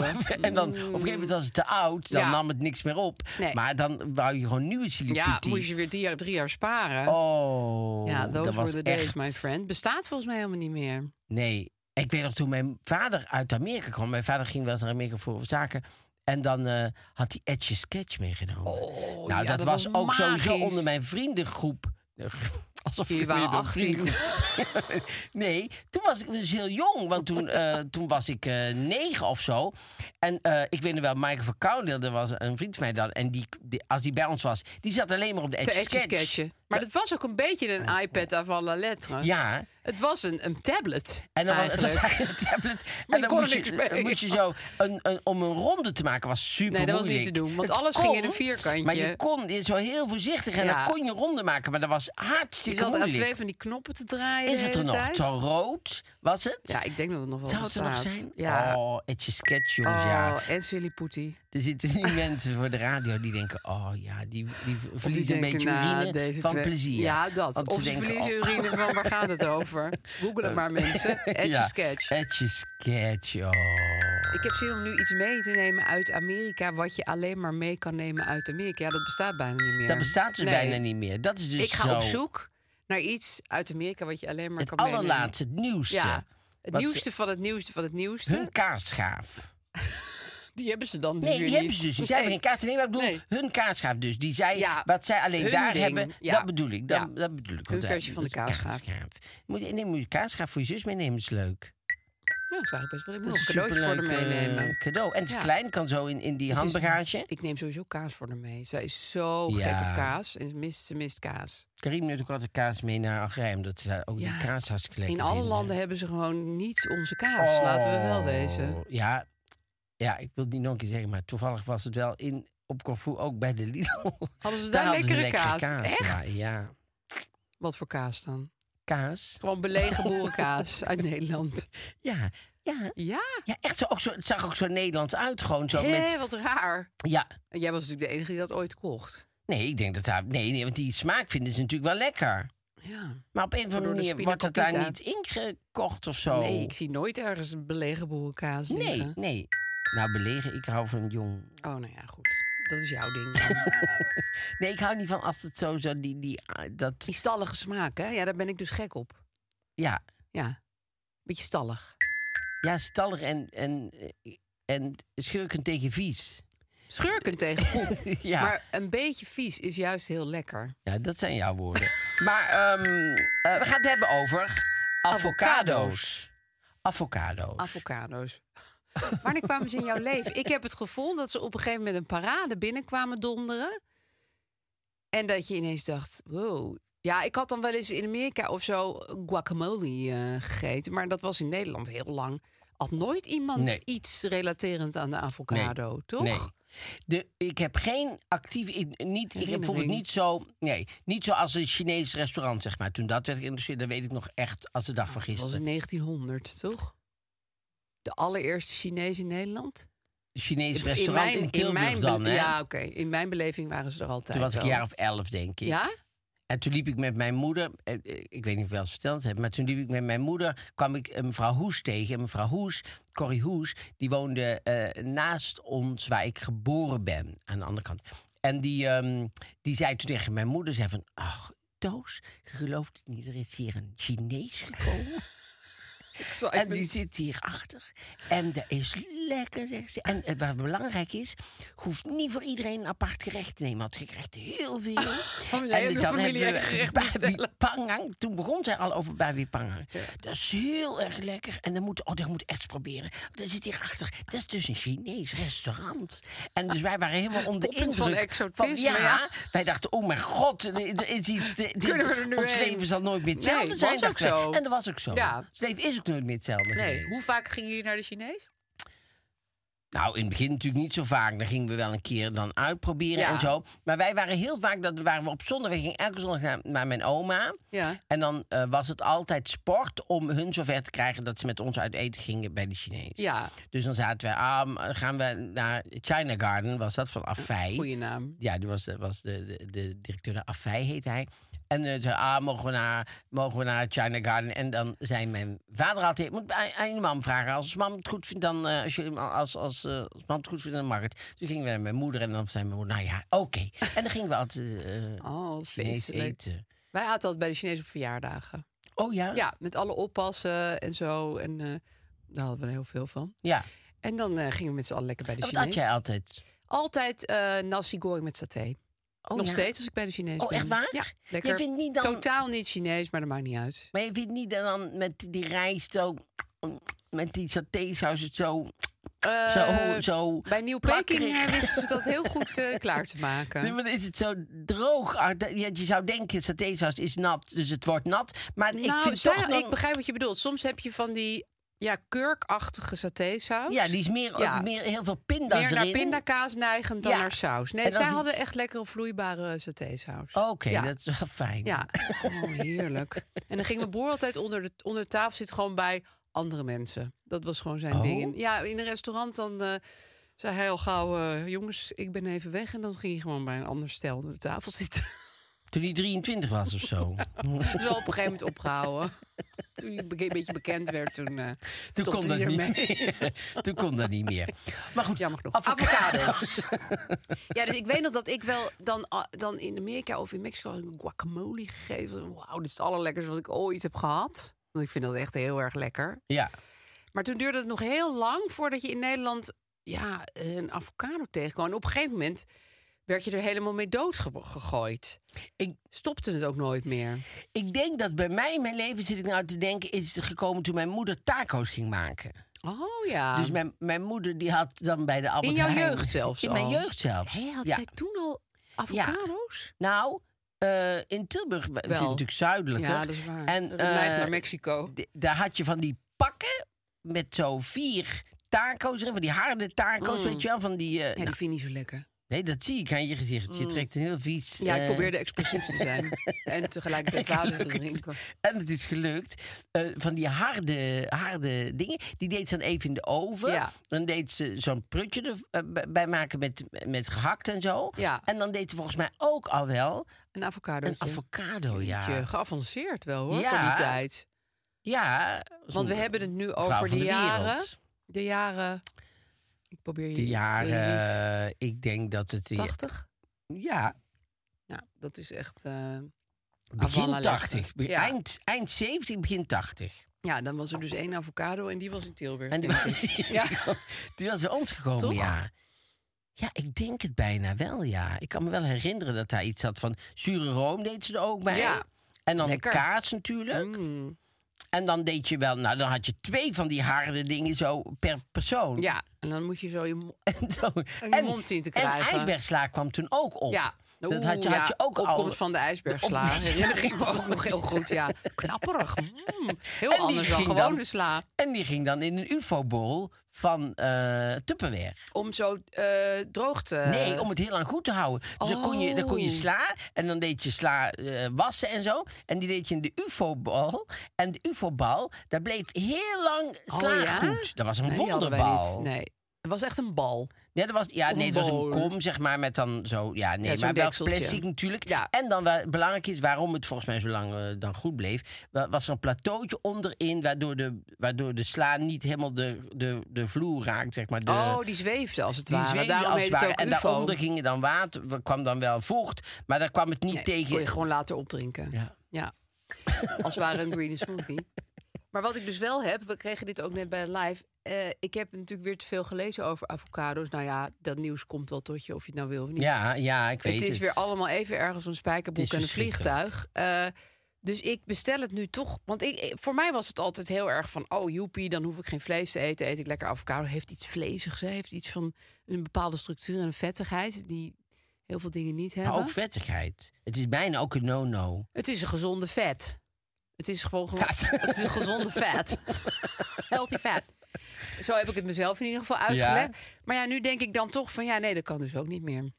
S3: Mm.
S1: En dan op een gegeven moment was het te oud, dan
S3: Ja.
S1: nam het niks meer op.
S3: Nee.
S1: Maar dan wou je gewoon nieuwe
S3: Ja,
S1: Siliputi.
S3: moest je weer drie jaar, drie jaar sparen.
S1: Oh,
S3: ja, those
S1: dat
S3: were
S1: was
S3: the days,
S1: echt...
S3: my friend. Bestaat volgens mij helemaal niet meer.
S1: Nee, ik weet nog toen mijn vader uit Amerika kwam. Mijn vader ging wel eens naar Amerika voor zaken. En dan eh, had hij Edge Sketch meegenomen. nou,
S3: ja,
S1: dat,
S3: dat
S1: was,
S3: was
S1: ook sowieso
S3: magisch.
S1: onder mijn vriendengroep. Alsof
S3: Jullie
S1: ik weer
S3: waren
S1: door
S3: 18.
S1: vriendengroep- nee, toen was ik dus heel jong. Want toen, eh, toen was ik eh, negen of zo. En eh, ik weet nog wel, Michael van Kouwendeel, dat was een vriend van mij dan. En die, die- als die bij ons was, die zat alleen maar op de
S3: De
S1: Edge
S3: Edge
S1: Sketch.
S3: Sketchen. Maar dat was ook een beetje een iPad avant la lettre.
S1: Ja,
S3: Het was een, een tablet
S1: En dan was het was
S3: eigenlijk.
S1: eigenlijk een tablet.
S3: Maar
S1: en
S3: je
S1: dan
S3: kon
S1: moest
S3: er
S1: je,
S3: niks mee.
S1: moest je zo een, een, om een ronde te maken was super
S3: Nee, dat was niet
S1: moeilijk.
S3: te doen, want
S1: Het
S3: alles ging in een vierkantje.
S1: Maar je kon je zo heel voorzichtig en dan
S3: Ja.
S1: kon je ronde maken, maar dat was
S3: Je
S1: hartstikke
S3: zat aan
S1: moeilijk.
S3: twee van die knoppen te draaien
S1: Is
S3: de
S1: het er
S3: hele
S1: nog?
S3: tijd.
S1: Zo rood was het?
S3: Ja, ik denk dat het nog wel
S1: Zou het er nog
S3: bestaat.
S1: zijn?
S3: Ja.
S1: Oh, Edge Sketch, jongens, ja.
S3: Oh, en Siliputi.
S1: Er zitten nu mensen voor de radio die denken... oh ja, die, die
S3: Of die
S1: verliezen een beetje
S3: denken, nou,
S1: urine
S3: deze
S1: van
S3: twee-
S1: plezier.
S3: Ja, dat.
S1: Want
S3: of
S1: ze
S3: ze
S1: denken,
S3: verliezen
S1: oh.
S3: urine van waar gaat het over? Google het maar, mensen. Edge
S1: Ja,
S3: sketch.
S1: Edge Sketch, oh.
S3: Ik heb zin om nu iets mee te nemen uit Amerika... wat je alleen maar mee kan nemen uit Amerika. Ja, dat bestaat bijna niet meer.
S1: Dat bestaat dus
S3: Nee.
S1: bijna niet meer. Dat is dus
S3: Ik ga
S1: zo...
S3: op zoek naar iets uit Amerika... wat je alleen maar
S1: Het
S3: kan
S1: allerlaatste, het nieuwste.
S3: meenemen. Ja, het
S1: Wat
S3: nieuwste
S1: ze-
S3: van het nieuwste van het nieuwste.
S1: Hun kaasschaaf.
S3: Die hebben ze dan dus
S1: Nee,
S3: weer
S1: die hebben ze
S3: niet.
S1: dus. niet. Zij hebben geen kaart. Nee, maar ik bedoel,
S3: Nee.
S1: hun kaasschaaf dus. Die zij,
S3: Ja,
S1: wat zij alleen
S3: hun
S1: daar
S3: ding.
S1: hebben,
S3: Ja.
S1: dat bedoel ik. Dat,
S3: Ja.
S1: dat bedoel ik.
S3: Hun
S1: Want,
S3: versie
S1: eh,
S3: van de kaasschaaf.
S1: Moet je, nee, moet je kaasschaaf voor je zus meenemen, dat is leuk.
S3: Ja, dat is eigenlijk best wel. Ik
S1: Dat
S3: moet nog een
S1: is
S3: cadeautje voor
S1: superleuk,
S3: haar
S1: eh,
S3: meenemen.
S1: cadeau. En het is
S3: Ja.
S1: klein, kan zo in, in die
S3: Ze is-
S1: handbagage.
S3: Ik neem sowieso kaas voor haar mee. Zij is zo gek
S1: Ja.
S3: op kaas. En ze mist, ze mist kaas.
S1: Karim neemt ook altijd kaas mee naar Algerije, omdat ze daar ook
S3: Ja.
S1: Oh, die kaas hartstikke lekker
S3: In alle
S1: vinden.
S3: landen hebben ze gewoon niet onze kaas. Nou, dus Laten we wel wezen.
S1: Oh, Ja, ja, ik wil het niet nog een keer zeggen, maar toevallig was het wel in, op Corfu ook bij de Lidl.
S3: Hadden ze daar
S1: hadden ze
S3: lekkere kaas? Echt?
S1: Ja, ja.
S3: Wat voor kaas dan?
S1: kaas.
S3: Gewoon belegen boerenkaas uit Nederland.
S1: Ja, ja.
S3: Ja,
S1: Ja, echt zo. Ook zo het zag ook zo Nederlands uit. Gewoon zo
S3: Hé,
S1: met.
S3: wat raar.
S1: Ja.
S3: En jij was natuurlijk de enige die dat ooit kocht.
S1: Nee, ik denk dat daar. Nee, nee, want die smaak vinden ze natuurlijk wel lekker.
S3: Ja.
S1: Maar op een of andere
S3: Waardoor de
S1: manier wordt het daar niet
S3: spinacopita-
S1: ingekocht of zo.
S3: Nee, ik zie nooit ergens een belegen boerenkaas
S1: nee,
S3: liggen.
S1: nee. Nou, belegen, ik hou van jong.
S3: Oh, nou ja, goed. Dat is jouw ding. dan.
S1: Nee, ik hou niet van als het zo, zo die, die, ah, dat,
S3: Die stallige smaak, hè? Ja, daar ben ik dus gek op.
S1: ja.
S3: Ja. Beetje stallig.
S1: Ja, stallig en, en, eh, en schurken tegen vies.
S3: Schurkend tegen poep.
S1: Eh, Ja.
S3: Maar een beetje vies is juist heel lekker.
S1: Ja, dat zijn jouw woorden. maar ehm, eh, we gaan het hebben over avocado's. Avocado's.
S3: Avocado's. Wanneer kwamen ze in jouw leven? Ik heb het gevoel dat ze op een gegeven moment een parade binnenkwamen donderen. En dat je ineens dacht, wow. Ja, ik had dan wel eens in Amerika of zo guacamole eh, gegeten. Maar dat was in Nederland heel lang. Had nooit iemand
S1: Nee.
S3: iets relaterend aan de avocado, toch?
S1: Nee. De, ik heb geen actief. Ik, niet, ik heb bijvoorbeeld
S3: Herinnering.
S1: niet zo. Nee, niet zoals een Chinees restaurant, zeg maar. Toen dat werd geïntroduceerd, dat weet ik nog echt als de dag van
S3: Dat was in
S1: gisteren.
S3: 1900, toch? De allereerste Chinees in Nederland?
S1: Chinees restaurant in, Tilburg
S3: mijn
S1: dan,
S3: be-
S1: hè?
S3: Ja, oké. In mijn beleving waren ze er altijd
S1: Toen was ik een
S3: wel.
S1: jaar of elf, denk ik.
S3: Ja?
S1: En toen liep ik met mijn moeder, eh, eh, ik weet niet of ik wel eens verteld heb, maar toen liep ik met mijn moeder, kwam ik eh, mevrouw Hoes tegen. En mevrouw Hoes, Corrie Hoes, die woonde eh, naast ons waar ik geboren ben, aan de andere kant. En die, ehm, die zei toen tegen mijn moeder, zei van, ach, Doos, je gelooft het niet, er is hier een Chinees gekomen. en die zit hier achter. En dat is lekker, zegt ze. En eh, wat belangrijk is, je hoeft niet voor iedereen een apart gerecht te nemen. Want je krijgt heel veel.
S3: Oh, de hele
S1: hebben
S3: familie
S1: we
S3: eigen gerecht
S1: Babi
S3: bestellen.
S1: Pangang. Toen begon zij al over Babi Pangang. Dat is heel erg lekker. En dan moet, oh, dat moet ik echt eens proberen. Daar zit hierachter. Dat is dus een Chinees restaurant. En dus wij waren helemaal onder
S3: Op punt
S1: indruk.
S3: van exotisme,
S1: ja,
S3: ja.
S1: Wij dachten, oh mijn god, er er is iets. Dit, dit-
S3: Kunnen we er nu
S1: ons
S3: heen?
S1: leven zal nooit meer hetzelfde
S3: Nee,
S1: zijn.
S3: was
S1: dachten
S3: ook
S1: wij.
S3: zo.
S1: En dat was ook zo.
S3: Ja.
S1: Het leven is ook nooit meer hetzelfde
S3: Nee,
S1: geweest.
S3: hoe vaak gingen jullie naar de Chinees?
S1: Nou, in het begin natuurlijk niet zo vaak. Dan gingen we wel een keer dan uitproberen
S3: Ja.
S1: en zo. Maar wij waren heel vaak, dat waren we op zondag, we gingen elke zondag naar, naar mijn oma.
S3: Ja.
S1: En dan eh, was het altijd sport om hun zover te krijgen dat ze met ons uit eten gingen bij de Chinees.
S3: Ja.
S1: Dus dan zaten we, ah, m- gaan we naar China Garden, was dat van
S3: Eh,
S1: Afei.
S3: Goeie naam.
S1: Ja, die was, de- was de, de, de directeur van Afei, heet hij. En eh, zei, ah, mogen we, naar, mogen we naar China Garden? En dan zei mijn vader altijd, moet bij- aan, je mam vragen. Als mam het goed vindt, dan, eh, als, jullie, als, als, eh, als mam het goed vindt, dan mag het. Dus gingen we naar mijn moeder en dan zei mijn moeder, nou ja, oké. En dan gingen we altijd eh
S3: Oh,
S1: Chinees
S3: feestelijk.
S1: eten.
S3: Wij aten altijd bij de Chinees op verjaardagen.
S1: Oh ja?
S3: Ja, met alle oppassen en zo. En eh, daar hadden we er heel veel van.
S1: Ja.
S3: En dan eh, gingen we met z'n allen lekker bij de
S1: Wat
S3: Chinees.
S1: had jij altijd?
S3: Altijd eh, nasi goreng met saté.
S1: Oh,
S3: Nog
S1: ja.
S3: steeds als ik bij de Chinees
S1: Oh,
S3: ben.
S1: echt waar?
S3: Ja,
S1: Jij
S3: lekker.
S1: vindt niet dan-
S3: Totaal niet Chinees, maar dat maakt niet uit.
S1: Maar je vindt niet dat dan met die rijst zo... Met die satésaus het zo...
S3: Eh,
S1: zo, zo
S3: Bij Nieuw Peking eh,
S1: plakkerig.
S3: wisten ze dat heel goed eh, klaar te maken.
S1: Nee, maar dan is het zo droog. Ah, dat- Je je zou denken, satésaus is nat, dus het wordt nat. Maar ik
S3: nou,
S1: vind
S3: zij-
S1: toch dan-
S3: ik begrijp wat je bedoelt. Soms heb je van die ja, kurkachtige satésaus.
S1: Ja, die is meer,
S3: Ja.
S1: meer heel veel pinda's
S3: meer naar
S1: erin.
S3: pindakaas neigend dan
S1: Ja.
S3: naar saus. Nee,
S1: En
S3: zij
S1: als die-
S3: hadden echt lekkere vloeibare satésaus.
S1: Oh, Oké,
S3: ja.
S1: dat is wel fijn.
S3: Ja, oh, heerlijk. En dan ging mijn broer altijd onder de, onder de tafel zitten, gewoon bij andere mensen. Dat was gewoon zijn
S1: Oh.
S3: ding. En Ja, in een restaurant dan eh, zei hij al gauw... eh, jongens, ik ben even weg. En dan ging hij gewoon bij een ander stel onder de tafel zitten.
S1: Toen hij 23 was of zo.
S3: Dat is wel op een gegeven moment opgehouden. Toen hij be- een beetje bekend werd, toen... eh,
S1: Toen
S3: stopte
S1: kon dat
S3: hij
S1: niet
S3: ermee.
S1: meer. Toen kon dat niet meer. Maar goed,
S3: Jammer genoeg.
S1: Avocado's.
S3: Ja, dus ik weet nog dat ik wel dan, ah, dan in Amerika of in Mexico een guacamole gegeven. Wauw, dit is het allerlekkerste wat ik ooit heb gehad. Want ik vind dat echt heel erg lekker.
S1: ja.
S3: Maar toen duurde het nog heel lang voordat je in Nederland ja, een avocado tegenkwam. En op een gegeven moment werd je er helemaal mee doodgegooid.
S1: Ik,
S3: Stopte het ook nooit meer.
S1: ik denk dat bij mij in mijn leven, zit ik nou te denken... is het gekomen toen mijn moeder taco's ging maken.
S3: Oh ja.
S1: Dus mijn, mijn moeder die had dan bij de Albert
S3: in jouw
S1: Heijn-
S3: jeugd zelfs
S1: In mijn
S3: al.
S1: jeugd zelfs.
S3: Hé, had
S1: Ja.
S3: zij toen al avocado's?
S1: Nou, eh, in Tilburg we- we zitten natuurlijk zuidelijker.
S3: Ja, dat is waar.
S1: En
S3: dat neigt
S1: eh,
S3: naar Mexico.
S1: d- daar had je van die pakken
S3: Mm.
S1: met zo vier taco's erin. Van die harde taco's, weet je wel. Van die, eh,
S3: Ja, die vind ik niet zo lekker.
S1: Nee, dat zie ik aan je gezicht. Je trekt een heel vies...
S3: Mm. Ja, ik
S1: eh,
S3: probeerde explosief te zijn. en tegelijkertijd water te drinken.
S1: En het is gelukt. Eh, van die harde, harde dingen, die deed ze dan even in de oven.
S3: Ja.
S1: Dan deed ze zo'n prutje er, eh, b- bij maken met, met gehakt en zo.
S3: Ja.
S1: En dan deed ze volgens mij ook al wel
S3: Een avocado.
S1: een avocado, ja.
S3: Beetje Geavanceerd wel hoor,
S1: Ja.
S3: voor die tijd.
S1: Ja.
S3: Want we hebben het nu
S1: Vrouw
S3: over
S1: van
S3: de,
S1: de
S3: jaren.
S1: wereld.
S3: De jaren. Ik probeer je.
S1: De
S3: ik weet het niet.
S1: jaren, ik denk dat het... die-
S3: 80.
S1: Ja,
S3: Ja, dat is echt. eh, avant la
S1: begin
S3: lettre.
S1: 80. Be-
S3: Ja.
S1: Eind, eind 70, begin 80.
S3: ja, dan was er dus één avocado en die was in Tilburg.
S1: En die
S3: denk
S1: was,
S3: ik.
S1: ja. die was bij ons gekomen,
S3: Toch?
S1: ja. Ja, ik denk het bijna wel, ja. Ik kan me wel herinneren dat daar iets had van... zure room deed ze er ook bij.
S3: Ja.
S1: En dan
S3: Lekker.
S1: kaas natuurlijk.
S3: Mm.
S1: En dan deed je wel... Nou, dan had je twee van die harde dingen zo per persoon.
S3: Ja, en dan moet je zo je. mo-
S1: En, zo.
S3: je mond zien te
S1: En
S3: krijgen.
S1: ijsbergsla kwam toen ook op.
S3: Ja.
S1: dat had je,
S3: Oeh,
S1: had je
S3: ja,
S1: ook al.
S3: opkomst van de ijsbergsla.
S1: De op-
S3: Herinner ik me ook nog heel goed, ja. Knapperig. Mm, Heel
S1: En die
S3: anders dan
S1: ging
S3: gewone
S1: dan-
S3: sla.
S1: En die ging dan in een ufo-bol van eh Tupperware.
S3: Om zo eh, droog te...
S1: Nee, om het heel lang goed te houden. Dus dan, kon je, dan kon je
S3: Oh.
S1: sla en dan deed je sla eh, wassen en zo. En die deed je in de UFO-bal. En de UFO-bal, daar bleef heel lang sla
S3: Oh, ja?
S1: goed. Dat was een
S3: Nee, die hadden wij
S1: wonderbal.
S3: niet. Nee, het was echt een bal.
S1: Nee, dat was, ja,
S3: Of
S1: nee,
S3: een
S1: het was een
S3: bowl.
S1: kom, zeg maar, met dan zo... Ja, nee,
S3: Ja, zo'n
S1: maar wel
S3: dekseltje.
S1: plastic natuurlijk.
S3: Ja.
S1: En dan wel belangrijk is, waarom het volgens mij zo lang eh, dan goed bleef... wa- was er een plateautje onderin, waardoor de, waardoor de sla niet helemaal de, de, de vloer raakt, zeg maar. De,
S3: Oh, die zweefde als het
S1: Die
S3: ware.
S1: zweefde
S3: Daarom
S1: als
S3: heet
S1: het
S3: het ook
S1: ware. En
S3: UFO.
S1: daaronder gingen dan water, er kwam dan wel vocht, maar daar kwam het niet
S3: Nee, kon je
S1: tegen.
S3: gewoon later opdrinken.
S1: Ja.
S3: Ja. Als het ware een green smoothie. Maar wat ik dus wel heb, we kregen dit ook net bij de live. eh, ik heb natuurlijk weer te veel gelezen over avocado's. Nou ja, dat nieuws komt wel tot je, of je het nou wil of niet.
S1: Ja, ja, ik weet
S3: het
S1: het.
S3: is weer allemaal even erg als een spijkerbroek
S1: Het
S3: en
S1: is
S3: een vliegtuig. Eh, dus ik bestel het nu toch. Want ik, ik- voor mij was het altijd heel erg van... oh, joepie, dan hoef ik geen vlees te eten. Eet ik lekker avocado. Heeft iets vleesigs, hè? heeft iets van een bepaalde structuur en een vettigheid... die heel veel dingen niet hebben.
S1: Maar ook vettigheid. Het is bijna ook een no-no.
S3: Het is een gezonde vet. Het is gewoon gewoon-
S1: Vet.
S3: Het is een gezonde vet. Healthy vet. Zo heb ik het mezelf in ieder geval uitgelegd. Maar ja, nu denk ik dan toch van ja, nee, dat kan dus ook niet meer.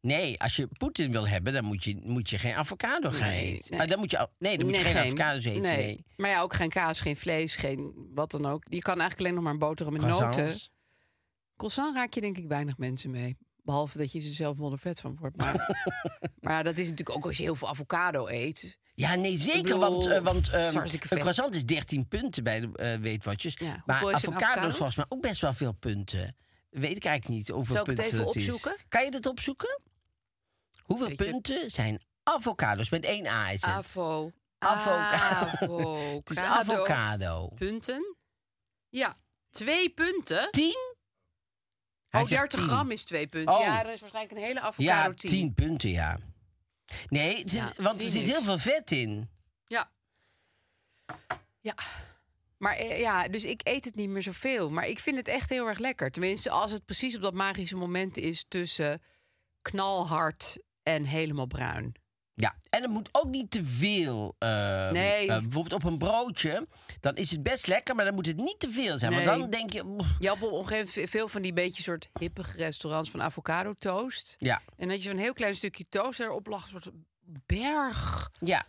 S1: Nee, als je Poetin wil hebben, dan moet je, moet je geen avocado gaan
S3: Nee,
S1: eten.
S3: nee.
S1: Ah, dan moet je, nee, dan moet je geen, avocado's eten. Nee.
S3: Maar ja, ook geen kaas, geen vlees, geen wat dan ook. Je kan eigenlijk alleen nog maar boterham met
S1: Croissants.
S3: noten. Croissant raak je denk ik weinig mensen mee. Behalve dat je er zelf moddervet van wordt. Maar, maar ja, dat is natuurlijk ook als je heel veel avocado eet.
S1: Ja, nee, zeker.
S3: bedoel,
S1: want eh, want
S3: het is
S1: ehm,
S3: hartstikke
S1: een
S3: vet.
S1: croissant is 13 punten bij de eh, weetwatjes.
S3: Ja,
S1: maar
S3: hoeveel is een
S1: avocado's
S3: avocado?
S1: volgens mij ook best wel veel punten. Weet ik eigenlijk niet hoeveel
S3: Zal ik het
S1: punten
S3: even
S1: dat is.
S3: opzoeken?
S1: Kan je dat opzoeken? Hoeveel
S3: Weet je-
S1: punten zijn avocados? Met één A is het.
S3: Avo.
S1: Avocado.
S3: Avocado.
S1: het is avocado.
S3: punten. Ja, twee punten.
S1: 10?
S3: oh, 30 gram is twee punten.
S1: Oh.
S3: Ja, dat is waarschijnlijk een hele avocado
S1: Ja,
S3: 10.
S1: 10 punten, ja. Nee, het is-
S3: Ja,
S1: want er
S3: zie
S1: zit
S3: niks.
S1: heel veel vet in.
S3: Ja. Ja. Maar eh, ja, dus ik eet het niet meer zoveel. Maar ik vind het echt heel erg lekker. Tenminste, als het precies op dat magische moment is tussen knalhard en helemaal bruin.
S1: Ja, en het moet ook niet te veel. eh,
S3: Nee.
S1: eh, bijvoorbeeld op een broodje, dan is het best lekker, maar dan moet het niet te veel zijn.
S3: Nee.
S1: Want dan denk je, pff,
S3: Je hebt op een gegeven moment veel van die beetje soort hippige restaurants van avocado toast.
S1: ja,
S3: En dat je zo'n heel klein stukje toast erop lag, een soort berg.
S1: ja.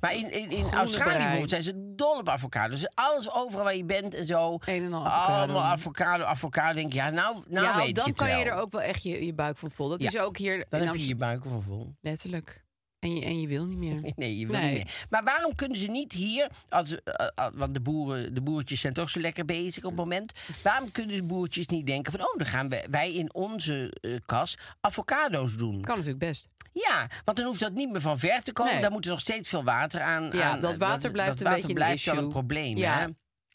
S1: Maar in, in, in
S3: Groene
S1: Australië
S3: brein.
S1: bijvoorbeeld zijn ze dol op avocados. Dus alles overal waar je bent en zo.
S3: Een en al avocado.
S1: Allemaal avocado, avocado. Denk je, ja, nou, nou
S3: ja,
S1: weet
S3: dan
S1: je het
S3: kan je
S1: wel.
S3: er ook wel echt je, je buik van vol. Dat
S1: Ja,
S3: is ook hier
S1: Dan
S3: in
S1: heb je je
S3: Amsterdam.
S1: buik van vol.
S3: Letterlijk. En je, en je wil niet meer.
S1: Nee, je wil
S3: Nee.
S1: niet meer. Maar waarom kunnen ze niet hier, als, eh, eh, want de, boeren, de boertjes zijn toch zo lekker bezig op het moment. Waarom kunnen de boertjes niet denken van, oh, dan gaan wij, wij in onze eh, kas avocado's doen.
S3: Kan natuurlijk best.
S1: Ja, want dan hoeft dat niet meer van ver te komen.
S3: Nee.
S1: Daar moet er nog steeds veel water aan.
S3: Ja,
S1: aan- eh,
S3: dat water blijft
S1: Nou, dat
S3: een
S1: water
S3: beetje een
S1: blijft
S3: issue.
S1: wel een probleem,
S3: Ja.
S1: hè?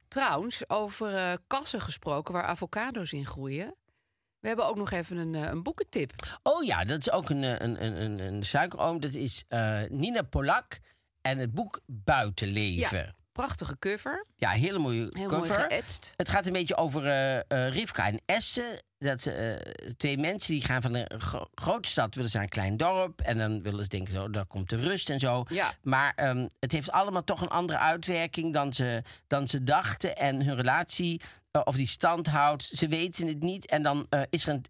S3: Trouwens, over eh, kassen gesproken waar avocado's in groeien. We hebben ook nog even een, eh, een boekentip.
S1: Oh ja, dat is ook een, eh, een, een, een, een suikeroom. Dat is eh, Nina Polak en het boek Buitenleven.
S3: Ja, prachtige cover.
S1: Ja, hele mooie
S3: Heel
S1: cover.
S3: mooi geëtst.
S1: Het gaat een beetje over eh, eh, Rivka en Essen. Dat eh, twee mensen die gaan van een gro- grote stad willen ze naar een klein dorp. En dan willen ze denken, zo, daar komt de rust en zo.
S3: Ja.
S1: Maar ehm, het heeft allemaal toch een andere uitwerking dan ze, dan ze dachten. En hun relatie eh, of die stand houdt. Ze weten het niet. En dan eh, is er een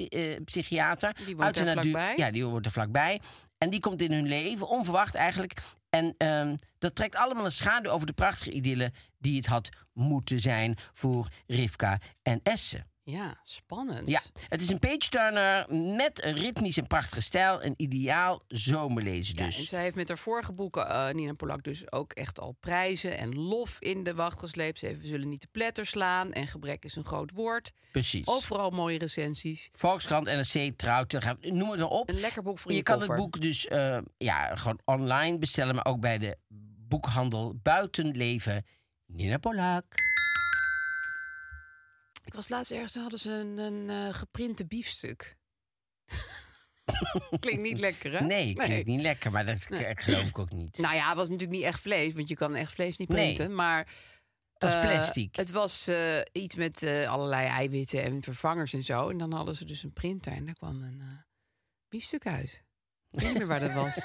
S1: eh, tv-psychiater.
S3: Die woont daar vlakbij.
S1: Ja, die wordt er vlakbij. En die komt in hun leven, onverwacht eigenlijk. En ehm, dat trekt allemaal een schaduw over de prachtige idylle... die het had moeten zijn voor Rivka en Essen.
S3: Ja, spannend.
S1: Ja, het is een page-turner met een ritmisch en prachtige stijl. Een ideaal zomerlezen
S3: Ja,
S1: dus.
S3: en zij heeft met haar vorige boeken, eh, Nina Polak, dus ook echt al prijzen en lof in de wacht gesleept. Ze heeft We zullen niet de pletter slaan en gebrek is een groot woord.
S1: Precies.
S3: Overal mooie recensies.
S1: Volkskrant, NRC, Trouw, Telegraaf, noem het maar op.
S3: Een lekker boek voor
S1: je
S3: je
S1: kan
S3: koffer.
S1: het boek dus eh, ja, gewoon online bestellen, maar ook bij de boekhandel Buitenleven Nina Polak.
S3: Ik was laatst ergens, daar hadden ze een, een eh, geprinte biefstuk. klinkt niet lekker, hè?
S1: Nee, klinkt niet lekker, maar dat k- geloof ik ook niet.
S3: Nou ja, het was natuurlijk niet echt vlees, want je kan echt vlees niet
S1: Nee.
S3: printen. Maar
S1: dat is
S3: Eh,
S1: plastic.
S3: het was eh, iets met eh, allerlei eiwitten en vervangers en zo. En dan hadden ze dus een printer en daar kwam een eh biefstuk uit. Ik weet niet meer waar dat was.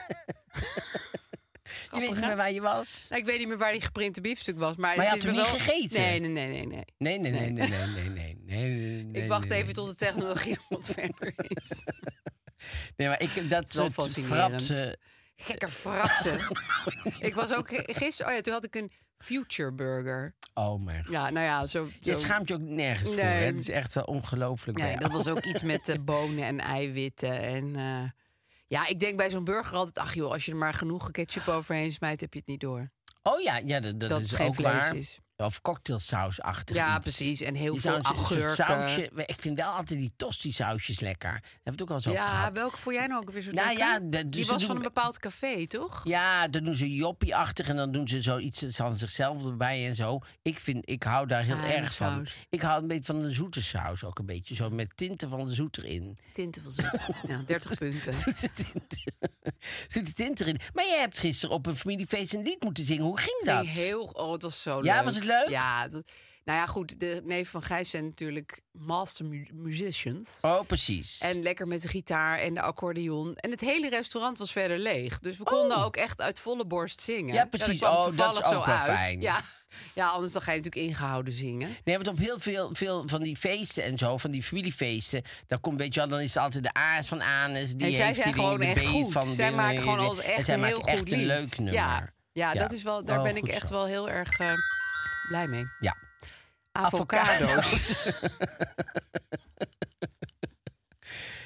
S1: je weet niet meer waar je was.
S3: Nou, ik weet niet meer waar die geprinte biefstuk was. Maar,
S1: Maar je
S3: het
S1: had
S3: is
S1: hem
S3: me
S1: niet
S3: wel-
S1: gegeten?
S3: Nee, nee, nee, nee. nee.
S1: Nee, nee, nee, nee, nee, nee, nee, nee, nee, nee,
S3: ik wacht
S1: nee,
S3: even tot de technologie wat verder is.
S1: Nee, maar ik, dat
S3: Wel
S1: soort
S3: fascinerend.
S1: fratsen...
S3: Gekke fratsen. ik was ook ge- gisteren... Oh ja, toen had ik een future burger.
S1: Oh mijn god.
S3: Ja, nou ja, zo...
S1: Je
S3: zo-
S1: schaamt je ook nergens voor,
S3: Nee.
S1: hè? Het is echt wel ongelooflijk. bij
S3: Nee, dat
S1: jou.
S3: was ook iets met eh, bonen en eiwitten. En eh, ja, ik denk bij zo'n burger altijd, ach joh, als je er maar genoeg ketchup overheen smijt, heb je het niet door.
S1: Oh ja, ja dat, dat
S3: Dat
S1: is
S3: het geen
S1: ook
S3: vlees
S1: waar.
S3: is.
S1: Of cocktailsausachtig
S3: Ja,
S1: iets.
S3: precies. En heel
S1: Je
S3: veel
S1: zou een soort
S3: augurken.
S1: sausje- maar Ik vind wel altijd die tosti-sausjes lekker. Daar hebben we het ook al eens over
S3: ja,
S1: gehad.
S3: welke voor jij nou ook weer zo
S1: Nou
S3: lekker?
S1: ja, de-
S3: Die
S1: dus ze
S3: was
S1: doen-
S3: van een bepaald café, toch?
S1: Ja, dan doen ze joppie-achtig en dan doen ze zoiets van zichzelf erbij en zo. Ik, vind, ik hou daar heel
S3: Geheime
S1: erg van.
S3: saus.
S1: Ik hou een beetje van de zoete saus ook een beetje. Zo met tinten van de zoet erin.
S3: Tinten van zoet. ja, 30 punten.
S1: Zoete tinten. zoete tinten erin. Maar jij hebt gisteren op een familiefeest een lied moeten zingen. Hoe ging dat?
S3: Ging Heel, oh, het was zo leuk.
S1: Ja, was het leuk?
S3: Ja, dat- nou ja, goed, de neef van Gijs zijn natuurlijk master mu- musicians.
S1: Oh, precies.
S3: En lekker met de gitaar en de accordeon. En het hele restaurant was verder leeg. Dus we konden ook echt uit volle borst zingen.
S1: Oh. Ja, precies.
S3: dat kwam
S1: Oh, dat
S3: toevallig
S1: is ook
S3: zo
S1: wel
S3: uit.
S1: fijn.
S3: Ja. ja, anders dan ga je natuurlijk ingehouden zingen.
S1: Nee, want op heel veel, veel van die feesten en zo, van die familiefeesten, dan komt, weet je wel, dan is er altijd de A's van Anus. Die
S3: en zij
S1: heeft
S3: zijn
S1: die
S3: gewoon
S1: ding, de
S3: echt
S1: B
S3: goed.
S1: Van
S3: zij
S1: ding,
S3: maken gewoon
S1: eh,
S3: altijd
S1: en
S3: echt
S1: zij
S3: een
S1: maken
S3: heel
S1: echt
S3: goed
S1: een
S3: lied.
S1: leuk nummer.
S3: Ja, ja,
S1: Ja.
S3: dat is wel, daar
S1: Oh,
S3: ben ik
S1: goed
S3: echt
S1: zo.
S3: wel heel erg eh, blij mee.
S1: Ja.
S3: Avocado's.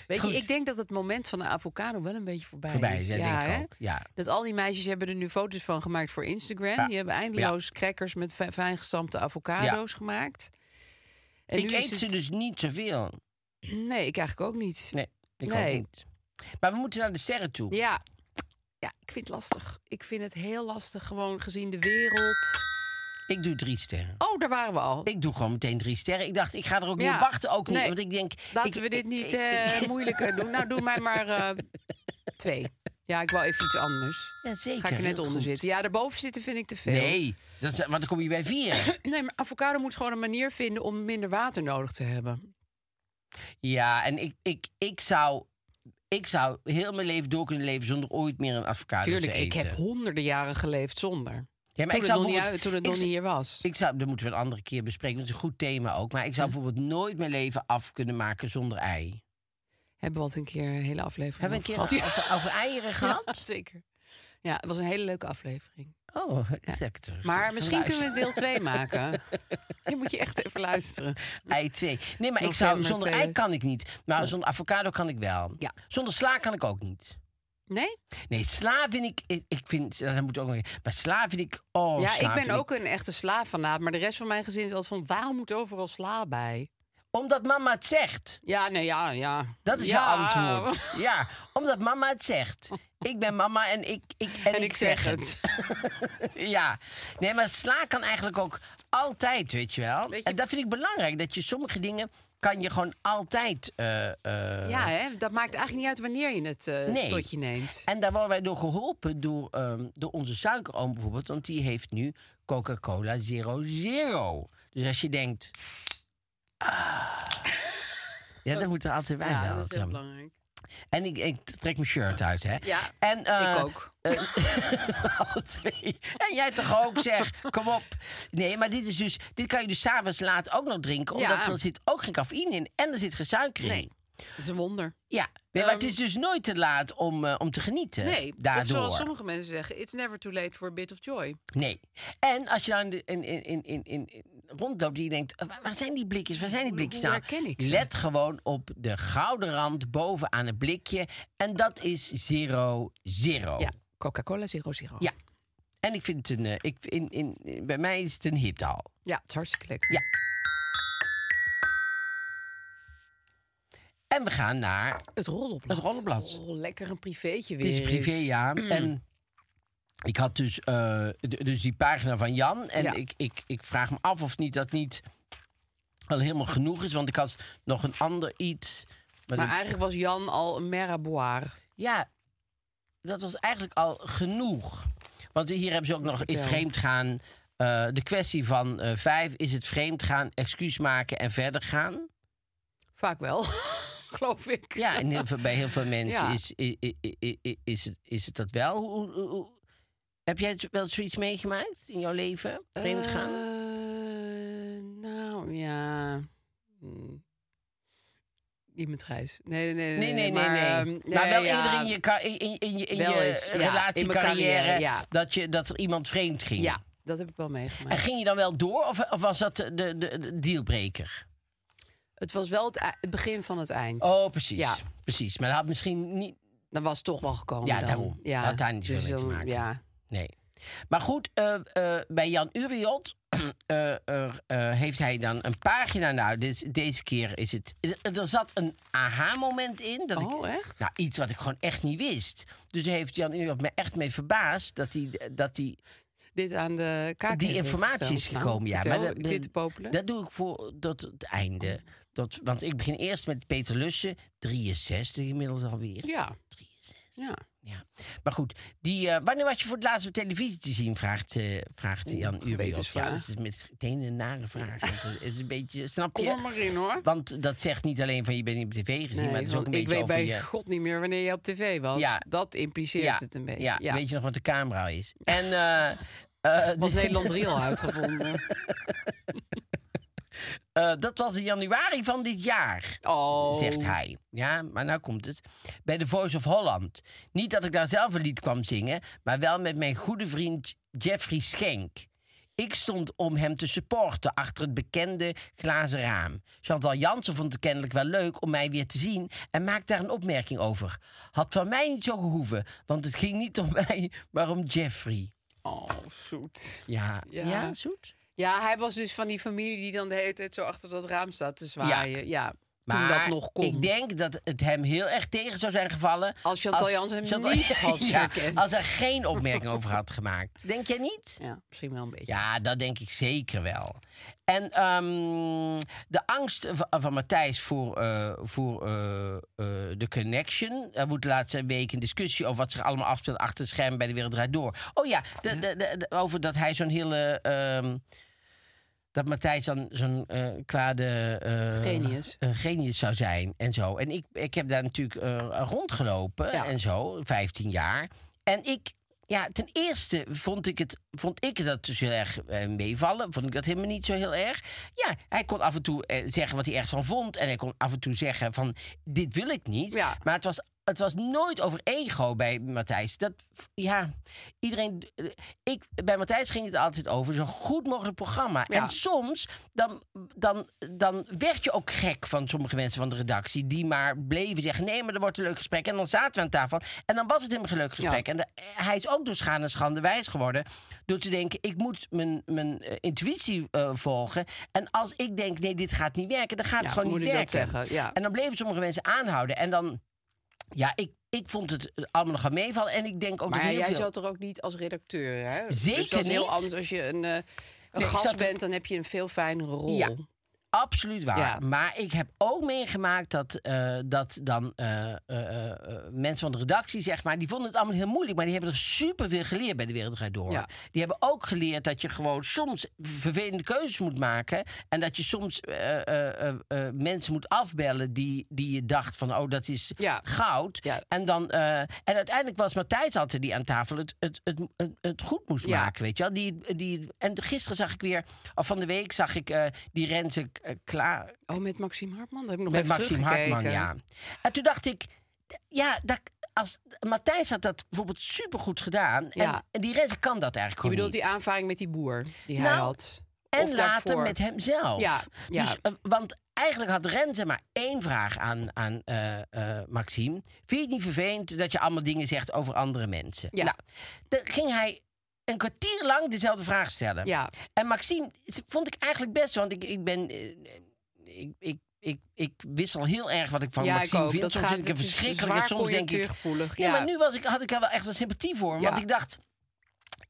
S3: Weet
S1: Goed.
S3: je, ik denk dat het moment van de avocado wel een beetje voorbij,
S1: Voorbij
S3: is.
S1: is, hè, denk ik
S3: hè?
S1: ook, ja.
S3: Dat al die meisjes hebben er nu foto's van gemaakt voor Instagram.
S1: Ja.
S3: Die hebben eindeloos crackers met fi- fijn gestampte avocado's gemaakt. En
S1: ik
S3: nu is
S1: eet
S3: het-
S1: ze dus niet zoveel.
S3: Nee, ik eigenlijk ook niet.
S1: Nee, ik
S3: Nee.
S1: ook niet. Maar we moeten naar de sterren toe.
S3: Ja. ja, ik vind het lastig. Ik vind het heel lastig, gewoon gezien de wereld.
S1: Ik doe drie sterren.
S3: Oh, daar waren we al.
S1: Ik doe gewoon meteen drie sterren. Ik dacht, ik ga er ook
S3: Ja.
S1: niet op wachten. Ook niet,
S3: Nee.
S1: want ik denk...
S3: Laten
S1: ik-
S3: we dit niet
S1: ik-
S3: eh,
S1: ik-
S3: moeilijker doen. Nou, doe mij maar eh, twee. Ja, ik wil even iets anders.
S1: Ja, zeker.
S3: Ga ik er net
S1: heel
S3: onder
S1: goed.
S3: zitten. Ja, daarboven zitten vind ik te veel.
S1: Nee, dat, is- want dan kom je bij vier.
S3: Nee, maar avocado moet gewoon een manier vinden om minder water nodig te hebben.
S1: Ja, en ik, ik, ik, zou, ik zou heel mijn leven door kunnen leven zonder ooit meer een avocado
S3: Tuurlijk,
S1: te eten.
S3: ik heb honderden jaren geleefd zonder.
S1: ja, maar
S3: toen,
S1: ik
S3: het
S1: zou
S3: nog niet, uit-
S1: bijvoorbeeld-
S3: toen het
S1: ik
S3: nog
S1: zou-
S3: niet hier was.
S1: Ik zou, dat moeten we een andere keer bespreken. Dat is een goed thema ook. Maar ik zou bijvoorbeeld nooit mijn leven af kunnen maken zonder ei.
S3: Hebben we al een keer een hele aflevering
S1: Hebben we een keer
S3: over gehad.
S1: over, over eieren
S3: Ja,
S1: gehad?
S3: zeker. Ja, het was een hele leuke aflevering.
S1: Oh, dat heb ik terug.
S3: Maar misschien kunnen we
S1: Geluisterd.
S3: deel 2 maken. Je moet je echt even luisteren.
S1: Ei 2. Nee, maar ik zou,
S3: November
S1: zonder ei
S3: 2000.
S1: kan ik niet. Maar zonder avocado kan ik wel.
S3: Ja.
S1: Zonder sla kan ik ook niet.
S3: Nee?
S1: Nee, sla vind ik... eh, Ik, ik vind... Dat moet ook nog... Maar sla vind ik... Oh,
S3: ja,
S1: sla
S3: ik ben
S1: vind
S3: ook een echte slaafanaat. Maar de rest van mijn gezin is altijd van... waarom moet overal sla bij?
S1: Omdat mama het zegt.
S3: Ja, nee, ja, ja.
S1: Dat is
S3: ja.
S1: jouw antwoord. Ja, omdat mama het zegt. Ik ben mama en ik, ik, en
S3: En ik zeg het.
S1: ja, nee, maar sla kan eigenlijk ook altijd, weet je wel.
S3: Weet je-
S1: En dat vind ik belangrijk, dat je sommige dingen kan je gewoon altijd. eh, eh,
S3: Ja, hè? dat maakt eigenlijk niet uit wanneer je het eh,
S1: Nee.
S3: tot je neemt.
S1: En daar worden wij door geholpen door, ehm, door onze suikeroom bijvoorbeeld, want die heeft nu Coca-Cola Zero Zero. Dus als je denkt. Ah, ja, dat moet er altijd bij
S3: Ja,
S1: wel.
S3: dat is
S1: zeg
S3: heel
S1: maar.
S3: belangrijk.
S1: En ik, ik trek mijn shirt uit, hè?
S3: Ja,
S1: en, eh,
S3: ik ook.
S1: eh, alle twee. En jij toch ook, zeg. Kom op. Nee, maar dit is dus... Dit kan je dus s'avonds laat ook nog drinken.
S3: Ja.
S1: Omdat er zit ook geen cafeïne in. En er zit geen suiker in.
S3: Nee. Dat is een wonder.
S1: Ja. Nee, maar het is dus nooit te laat om, eh, om te genieten.
S3: Nee,
S1: daardoor.
S3: of zoals sommige mensen zeggen, it's never too late for a bit of joy.
S1: Nee. En als je nou in, de- in, in, in, in, in- in- rondloopt die je denkt, "Wa- waar zijn die blikjes, waar zijn die
S3: Hoe-
S1: blikjes
S3: hoe
S1: nou?
S3: herken ik ze?
S1: Let gewoon op de gouden rand boven aan het blikje. En dat is zero, zero.
S3: Ja, Oh. Coca-Cola Zero Zero.
S1: Ja. En ik vind het een, eh, ik, in, in, in- bij mij is het een hit al.
S3: ja het is hartstikke leuk.
S1: Ja. En we gaan naar,
S3: Het rollenblad.
S1: Het rollenblad.
S3: Oh, lekker een privéetje
S1: het
S3: weer
S1: is privé,
S3: eens.
S1: ja. En ik had dus, eh, d- dus die pagina van Jan. En
S3: Ja.
S1: ik, ik, ik vraag me af of niet dat niet al helemaal genoeg is. Want ik had nog een ander iets. Maar
S3: Maar
S1: dat-
S3: eigenlijk was Jan al een mer à boire.
S1: ja, dat was eigenlijk al genoeg. Want hier hebben ze ook nog in
S3: vertel.
S1: vreemd gaan. eh, de kwestie van eh, vijf is het vreemd gaan, excuus maken en verder gaan.
S3: Vaak wel, geloof ik.
S1: Ja, en heel veel, bij heel veel mensen
S3: Ja.
S1: is, i- i- i- i- i- is, het, is het dat wel. Hoe, hoe- hoe- heb jij het wel zoiets meegemaakt in jouw leven? Vreemd gaan?
S3: Eh, nou ja. Hm. Niet met Gijs. Nee, nee, nee.
S1: nee, nee, nee.
S3: maar,
S1: nee.
S3: ehm,
S1: maar
S3: nee,
S1: wel
S3: ja.
S1: eerder in je, ka- in, in, in je, in
S3: Wel
S1: je
S3: eens, ja,
S1: relatie,
S3: in mijn
S1: carrière,
S3: carrière, ja.
S1: dat, je, dat er iemand vreemd ging.
S3: Ja, hm. dat heb ik wel
S1: En
S3: meegemaakt.
S1: ging je dan wel door of, of was dat de, de, de dealbreaker?
S3: Het was wel het, ei- het begin van het eind.
S1: Oh, precies.
S3: Ja.
S1: Precies. Maar dat had misschien niet.
S3: Dan was het toch wel gekomen.
S1: Ja,
S3: dan.
S1: daarom. Had daar niet
S3: dus
S1: veel mee te
S3: dan-
S1: maken.
S3: Ja.
S1: Nee. Maar goed, eh, eh, bij Jan Uriot eh, er, eh, heeft hij dan een pagina. Nou, dit, deze keer is het. eh, Er zat een aha-moment in. Dat
S3: Oh,
S1: ik,
S3: echt?
S1: Nou, iets wat ik gewoon echt niet wist. Dus daar heeft Jan Uriot me echt mee verbaasd dat hij. Dat hij
S3: Dit aan de kaak.
S1: die
S3: heeft
S1: informatie is
S3: gesteld. Nou,
S1: gekomen, ja.
S3: vertel,
S1: dat-
S3: ik zit te popelen.
S1: Dat doe ik voor tot het einde.
S3: Oh.
S1: Tot, want ik begin eerst met Peter Lussen, 63 inmiddels alweer.
S3: ja. ja.
S1: Ja. Maar goed, die, eh, wanneer was je voor het laatst op televisie te zien? Vraagt, eh, vraagt Jan Uriot.
S3: gewetensvraag.
S1: Ja, dat is meteen een nare vraag. Want het is een beetje, snap
S3: Kom
S1: je?
S3: er maar in, hoor.
S1: Want dat zegt niet alleen van je bent niet op tv gezien,
S3: Nee,
S1: maar het is ook
S3: want
S1: een
S3: ik
S1: beetje
S3: weet
S1: over
S3: bij
S1: je...
S3: God niet meer wanneer je op tv was.
S1: Ja.
S3: Dat impliceert het een beetje.
S1: ja,
S3: Ja,
S1: weet je nog wat de camera is? En eh, eh,
S3: Was
S1: die-
S3: Nederland 3 al uitgevonden?
S1: eh, dat was in januari van dit jaar.
S3: Oh.
S1: zegt hij. Ja, maar nou komt het. Bij The Voice of Holland. Niet dat ik daar zelf een lied kwam zingen, maar wel met mijn goede vriend Jeffrey Schenk. Ik stond om hem te supporten achter het bekende glazen raam. Chantal Jansen vond het kennelijk wel leuk om mij weer te zien en maakte daar een opmerking over. Had van mij niet zo gehoeven, want het ging niet om mij, maar om Jeffrey.
S3: Oh, zoet.
S1: Ja, ja.
S3: Ja.
S1: zoet.
S3: Ja, hij was dus van die familie die dan de hele tijd zo achter dat raam staat te zwaaien. Ja, toen
S1: Maar
S3: dat nog kon.
S1: ik denk dat het hem heel erg tegen zou zijn gevallen...
S3: Als Chantal Jansen hem niet had herkend.
S1: Als er geen opmerking over had gemaakt. Denk jij niet?
S3: Ja, misschien wel een beetje.
S1: Ja, dat denk ik zeker wel. En ehm, de angst va- van, Matthijs voor, eh, voor eh, eh, de connection. Er wordt de laatste week een discussie over wat zich allemaal afspeelt achter het scherm bij de Wereld Draait Door. Oh ja, de, de, de- de- over dat hij zo'n hele. ehm, dat Matthijs dan zo'n eh, kwade. eh,
S3: Genius.
S1: eh, genius zou zijn en zo. En ik, ik heb daar natuurlijk eh, rondgelopen
S3: Ja.
S1: en zo, 15 jaar. En ik, ja, ten eerste vond ik, het, vond ik dat dus heel erg eh, meevallen. Vond ik dat helemaal niet zo heel erg. Ja, hij kon af en toe eh, zeggen wat hij echt van vond. En hij kon af en toe zeggen van, dit wil ik niet.
S3: Ja.
S1: Maar het was, het was nooit over ego bij Matthijs. Dat, ja, iedereen... eh, Ik, bij Matthijs ging het altijd over zo goed mogelijk programma.
S3: Ja.
S1: En soms, dan, dan, dan werd je ook gek van sommige mensen van de redactie... die maar bleven zeggen, nee, maar er wordt een leuk gesprek. En dan zaten we aan tafel en dan was het helemaal geen leuk gesprek. En de- eh, hij is ook door schade en schande wijs geworden... door te denken, ik moet mijn, mijn eh, intuïtie eh, volgen. En als ik denk, nee, dit gaat niet werken, dan gaat het
S3: Ja,
S1: gewoon
S3: moet
S1: niet
S3: ik
S1: werken.
S3: dat zeggen, ja.
S1: En dan bleven sommige mensen aanhouden. En dan, ja, ik, ik vond het eh, allemaal nog aan meevallen. En ik denk ook
S3: maar
S1: dat heel
S3: jij
S1: veel...
S3: zat er ook niet als redacteur, hè?
S1: Zeker
S3: dus dat is heel
S1: niet.
S3: anders als je een, eh, een
S1: Nee, ik
S3: gast
S1: zat er-
S3: bent, dan heb je een veel fijnere rol.
S1: Ja. absoluut waar.
S3: Ja.
S1: Maar ik heb ook meegemaakt dat, eh, dat dan eh, eh, eh, eh, mensen van de redactie, zeg maar, die vonden het allemaal heel moeilijk. Maar die hebben er superveel geleerd bij de Wereld Draait Door.
S3: Ja.
S1: Die hebben ook geleerd dat je gewoon soms vervelende keuzes moet maken. En dat je soms eh, eh, eh, eh, mensen moet afbellen die, die je dacht van, oh, dat is
S3: Ja.
S1: goud.
S3: Ja.
S1: En, dan, eh, en uiteindelijk was Matthijs altijd die aan tafel het, het, het, het, het goed moest
S3: Ja.
S1: maken, weet je wel. Die, die, en gisteren zag ik weer, of van de week zag ik eh, die Renze eh, klaar
S3: Oh, met Maxime Hartman? Dat heb ik nog
S1: met
S3: even
S1: Maxime
S3: teruggekeken.
S1: Hartman, ja. En toen dacht ik, d- ja, dat, als, Matthijs had dat bijvoorbeeld supergoed gedaan. En,
S3: Ja.
S1: en die Renze kan dat eigenlijk
S3: Je
S1: gewoon
S3: bedoelt
S1: niet.
S3: die aanvaring met die boer die hij
S1: Nou,
S3: had.
S1: En
S3: Of
S1: later
S3: daarvoor.
S1: met hemzelf.
S3: Ja, ja.
S1: Dus, eh, want eigenlijk had Renze maar één vraag aan, aan eh, eh, Maxime. Vind je het niet vervelend dat je allemaal dingen zegt over andere mensen?
S3: Ja.
S1: Nou, dan ging hij een kwartier lang dezelfde vraag stellen.
S3: Ja.
S1: En Maxime vond ik eigenlijk best, want ik, ik ben... eh, ik, ik, ik, ik wist al heel erg wat ik van
S3: Ja, ik
S1: Maxime
S3: ook.
S1: vind.
S3: Dat
S1: soms
S3: gaat-
S1: vind ik hem
S3: het is
S1: verschrikkelijk. En
S3: zwaar
S1: soms denk ik...
S3: conjectuurgevoelig,
S1: Nee,
S3: ja.
S1: maar nu was ik, had ik er wel echt een sympathie voor. Want
S3: Ja.
S1: ik dacht,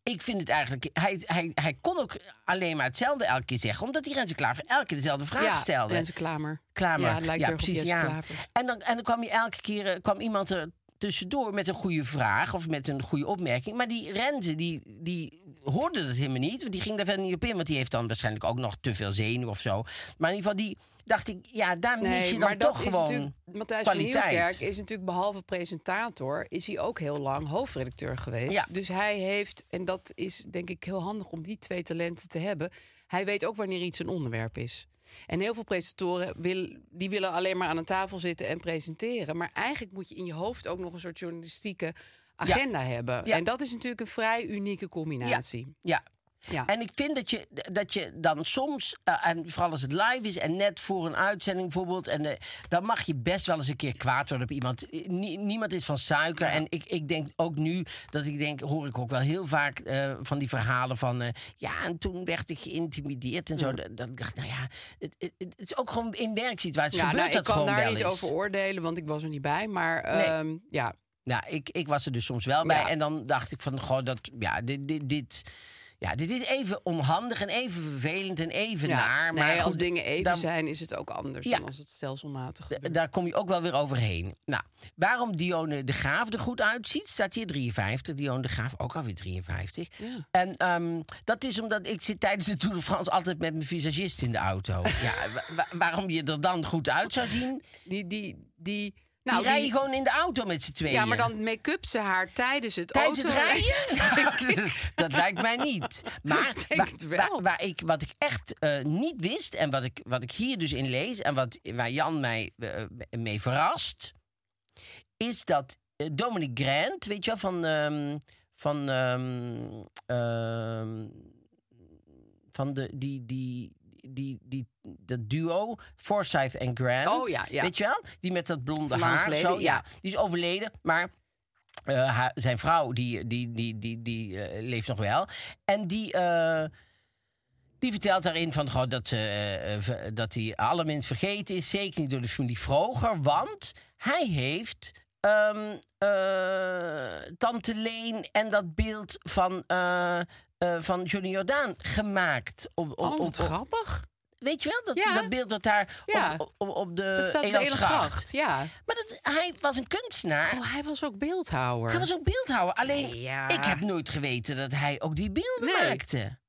S1: ik vind het eigenlijk. Hij, hij, hij kon ook alleen maar hetzelfde elke keer zeggen, omdat die Renze Klaver elke keer dezelfde vraag
S3: ja,
S1: stelde.
S3: Renze Klamer.
S1: Klamer.
S3: Ja, het lijkt erg op
S1: precies.
S3: Jesse
S1: Ja.
S3: Klaver.
S1: En, dan, en dan kwam je elke keer eh, kwam iemand er tussendoor met een goede vraag of met een goede opmerking. Maar die Renze, die, die hoorde dat helemaal niet. Want die ging daar verder niet op in. Want die heeft dan waarschijnlijk ook nog te veel zenuw of zo. Maar in ieder geval, die dacht ik, ja, daar mis je dan
S3: maar dat
S1: toch
S3: is
S1: gewoon
S3: natuurlijk- Matthijs
S1: kwaliteit.
S3: van Nieuwkerk is natuurlijk behalve presentator... is hij ook heel lang hoofdredacteur geweest.
S1: Ja.
S3: Dus hij heeft, en dat is denk ik heel handig om die twee talenten te hebben... hij weet ook wanneer iets een onderwerp is. En heel veel presentatoren wil, die willen alleen maar aan een tafel zitten en presenteren. Maar eigenlijk moet je in je hoofd ook nog een soort journalistieke agenda hebben.
S1: Ja.
S3: En dat is natuurlijk een vrij unieke combinatie.
S1: Ja.
S3: Ja.
S1: En ik vind dat je, dat je dan soms, eh, en vooral als het live is en net voor een uitzending bijvoorbeeld, en, eh, dan mag je best wel eens een keer kwaad worden op iemand. Eh, nie- niemand is van suiker. En ik, ik denk ook nu, dat ik denk, hoor ik ook wel heel vaak eh, van die verhalen van, eh, ja, en toen werd ik geïntimideerd en zo.
S3: Mm.
S1: Dat, dat ik dacht, nou ja, het, het, het is ook gewoon in werksituaties
S3: Ja,
S1: gebeurt
S3: nou,
S1: dat
S3: ik kan
S1: gewoon
S3: daar
S1: wel
S3: niet
S1: eens.
S3: over oordelen, want ik was er niet bij. Maar
S1: Nee.
S3: ehm, ja,
S1: Nou, ik, ik was er dus soms wel bij.
S3: Ja.
S1: En dan dacht ik van, goh, dat, ja, dit, dit, dit, ja, dit is even onhandig en even vervelend en even
S3: Ja,
S1: naar. Maar
S3: nee, als
S1: goed,
S3: dingen even
S1: dan-
S3: zijn, is het ook anders
S1: Ja.
S3: dan als het stelselmatig gebeurt.
S1: Daar kom je ook wel weer overheen. Nou, waarom Dione de Graaf er goed uitziet, staat hier 53. Dione de Graaf ook alweer 53. En ehm, dat is omdat ik zit tijdens de Tour de France altijd met mijn visagist in de auto. ja, wa- wa- waarom je er dan goed uit zou zien?
S3: Die, die, die,
S1: Nou,
S3: nou,
S1: die rij je
S3: die-
S1: gewoon in de auto met z'n tweeën.
S3: ja, maar dan make-up ze haar tijdens het
S1: Tijdens het
S3: auto.
S1: rijden? Nou, dat lijkt mij niet. Maar
S3: Ik denk
S1: waar,
S3: het wel.
S1: waar- waar ik, wat ik echt eh, niet wist en wat ik, wat ik hier dus in lees en wat, waar Jan mij eh, mee verrast, is dat eh, Dominic Grant, weet je wel, van, ehm, van, ehm, ehm, van de, die, die, die, die, dat duo Forsyth en Grant.
S3: Oh ja, ja.
S1: Weet je wel? Die met dat blonde
S3: Lang
S1: haar.
S3: geleden,
S1: zo, ja.
S3: ja.
S1: Die is overleden, maar eh, haar- zijn vrouw die, die, die, die, die eh, leeft nog wel. En die, eh, die vertelt daarin van, goh, dat, eh, eh, v- dat hij allerminst vergeten is. Zeker niet door de familie Vroger, want hij heeft ehm, eh, Tante Leen en dat beeld van, eh, eh, van Johnny Jordaan gemaakt. Op, op,
S3: Oh,
S1: op-
S3: wat
S1: op-
S3: grappig.
S1: weet je wel, dat,
S3: Ja.
S1: dat beeld dat daar op-
S3: Ja.
S1: op, op, op de
S3: Dat staat bij
S1: Elandsgracht.
S3: Elandsgracht, ja.
S1: Maar dat, hij was een kunstenaar.
S3: Oh, hij was ook beeldhouwer.
S1: Hij was ook beeldhouwer. Alleen,
S3: Ja.
S1: ik heb nooit geweten dat hij ook die beelden
S3: Nee.
S1: maakte.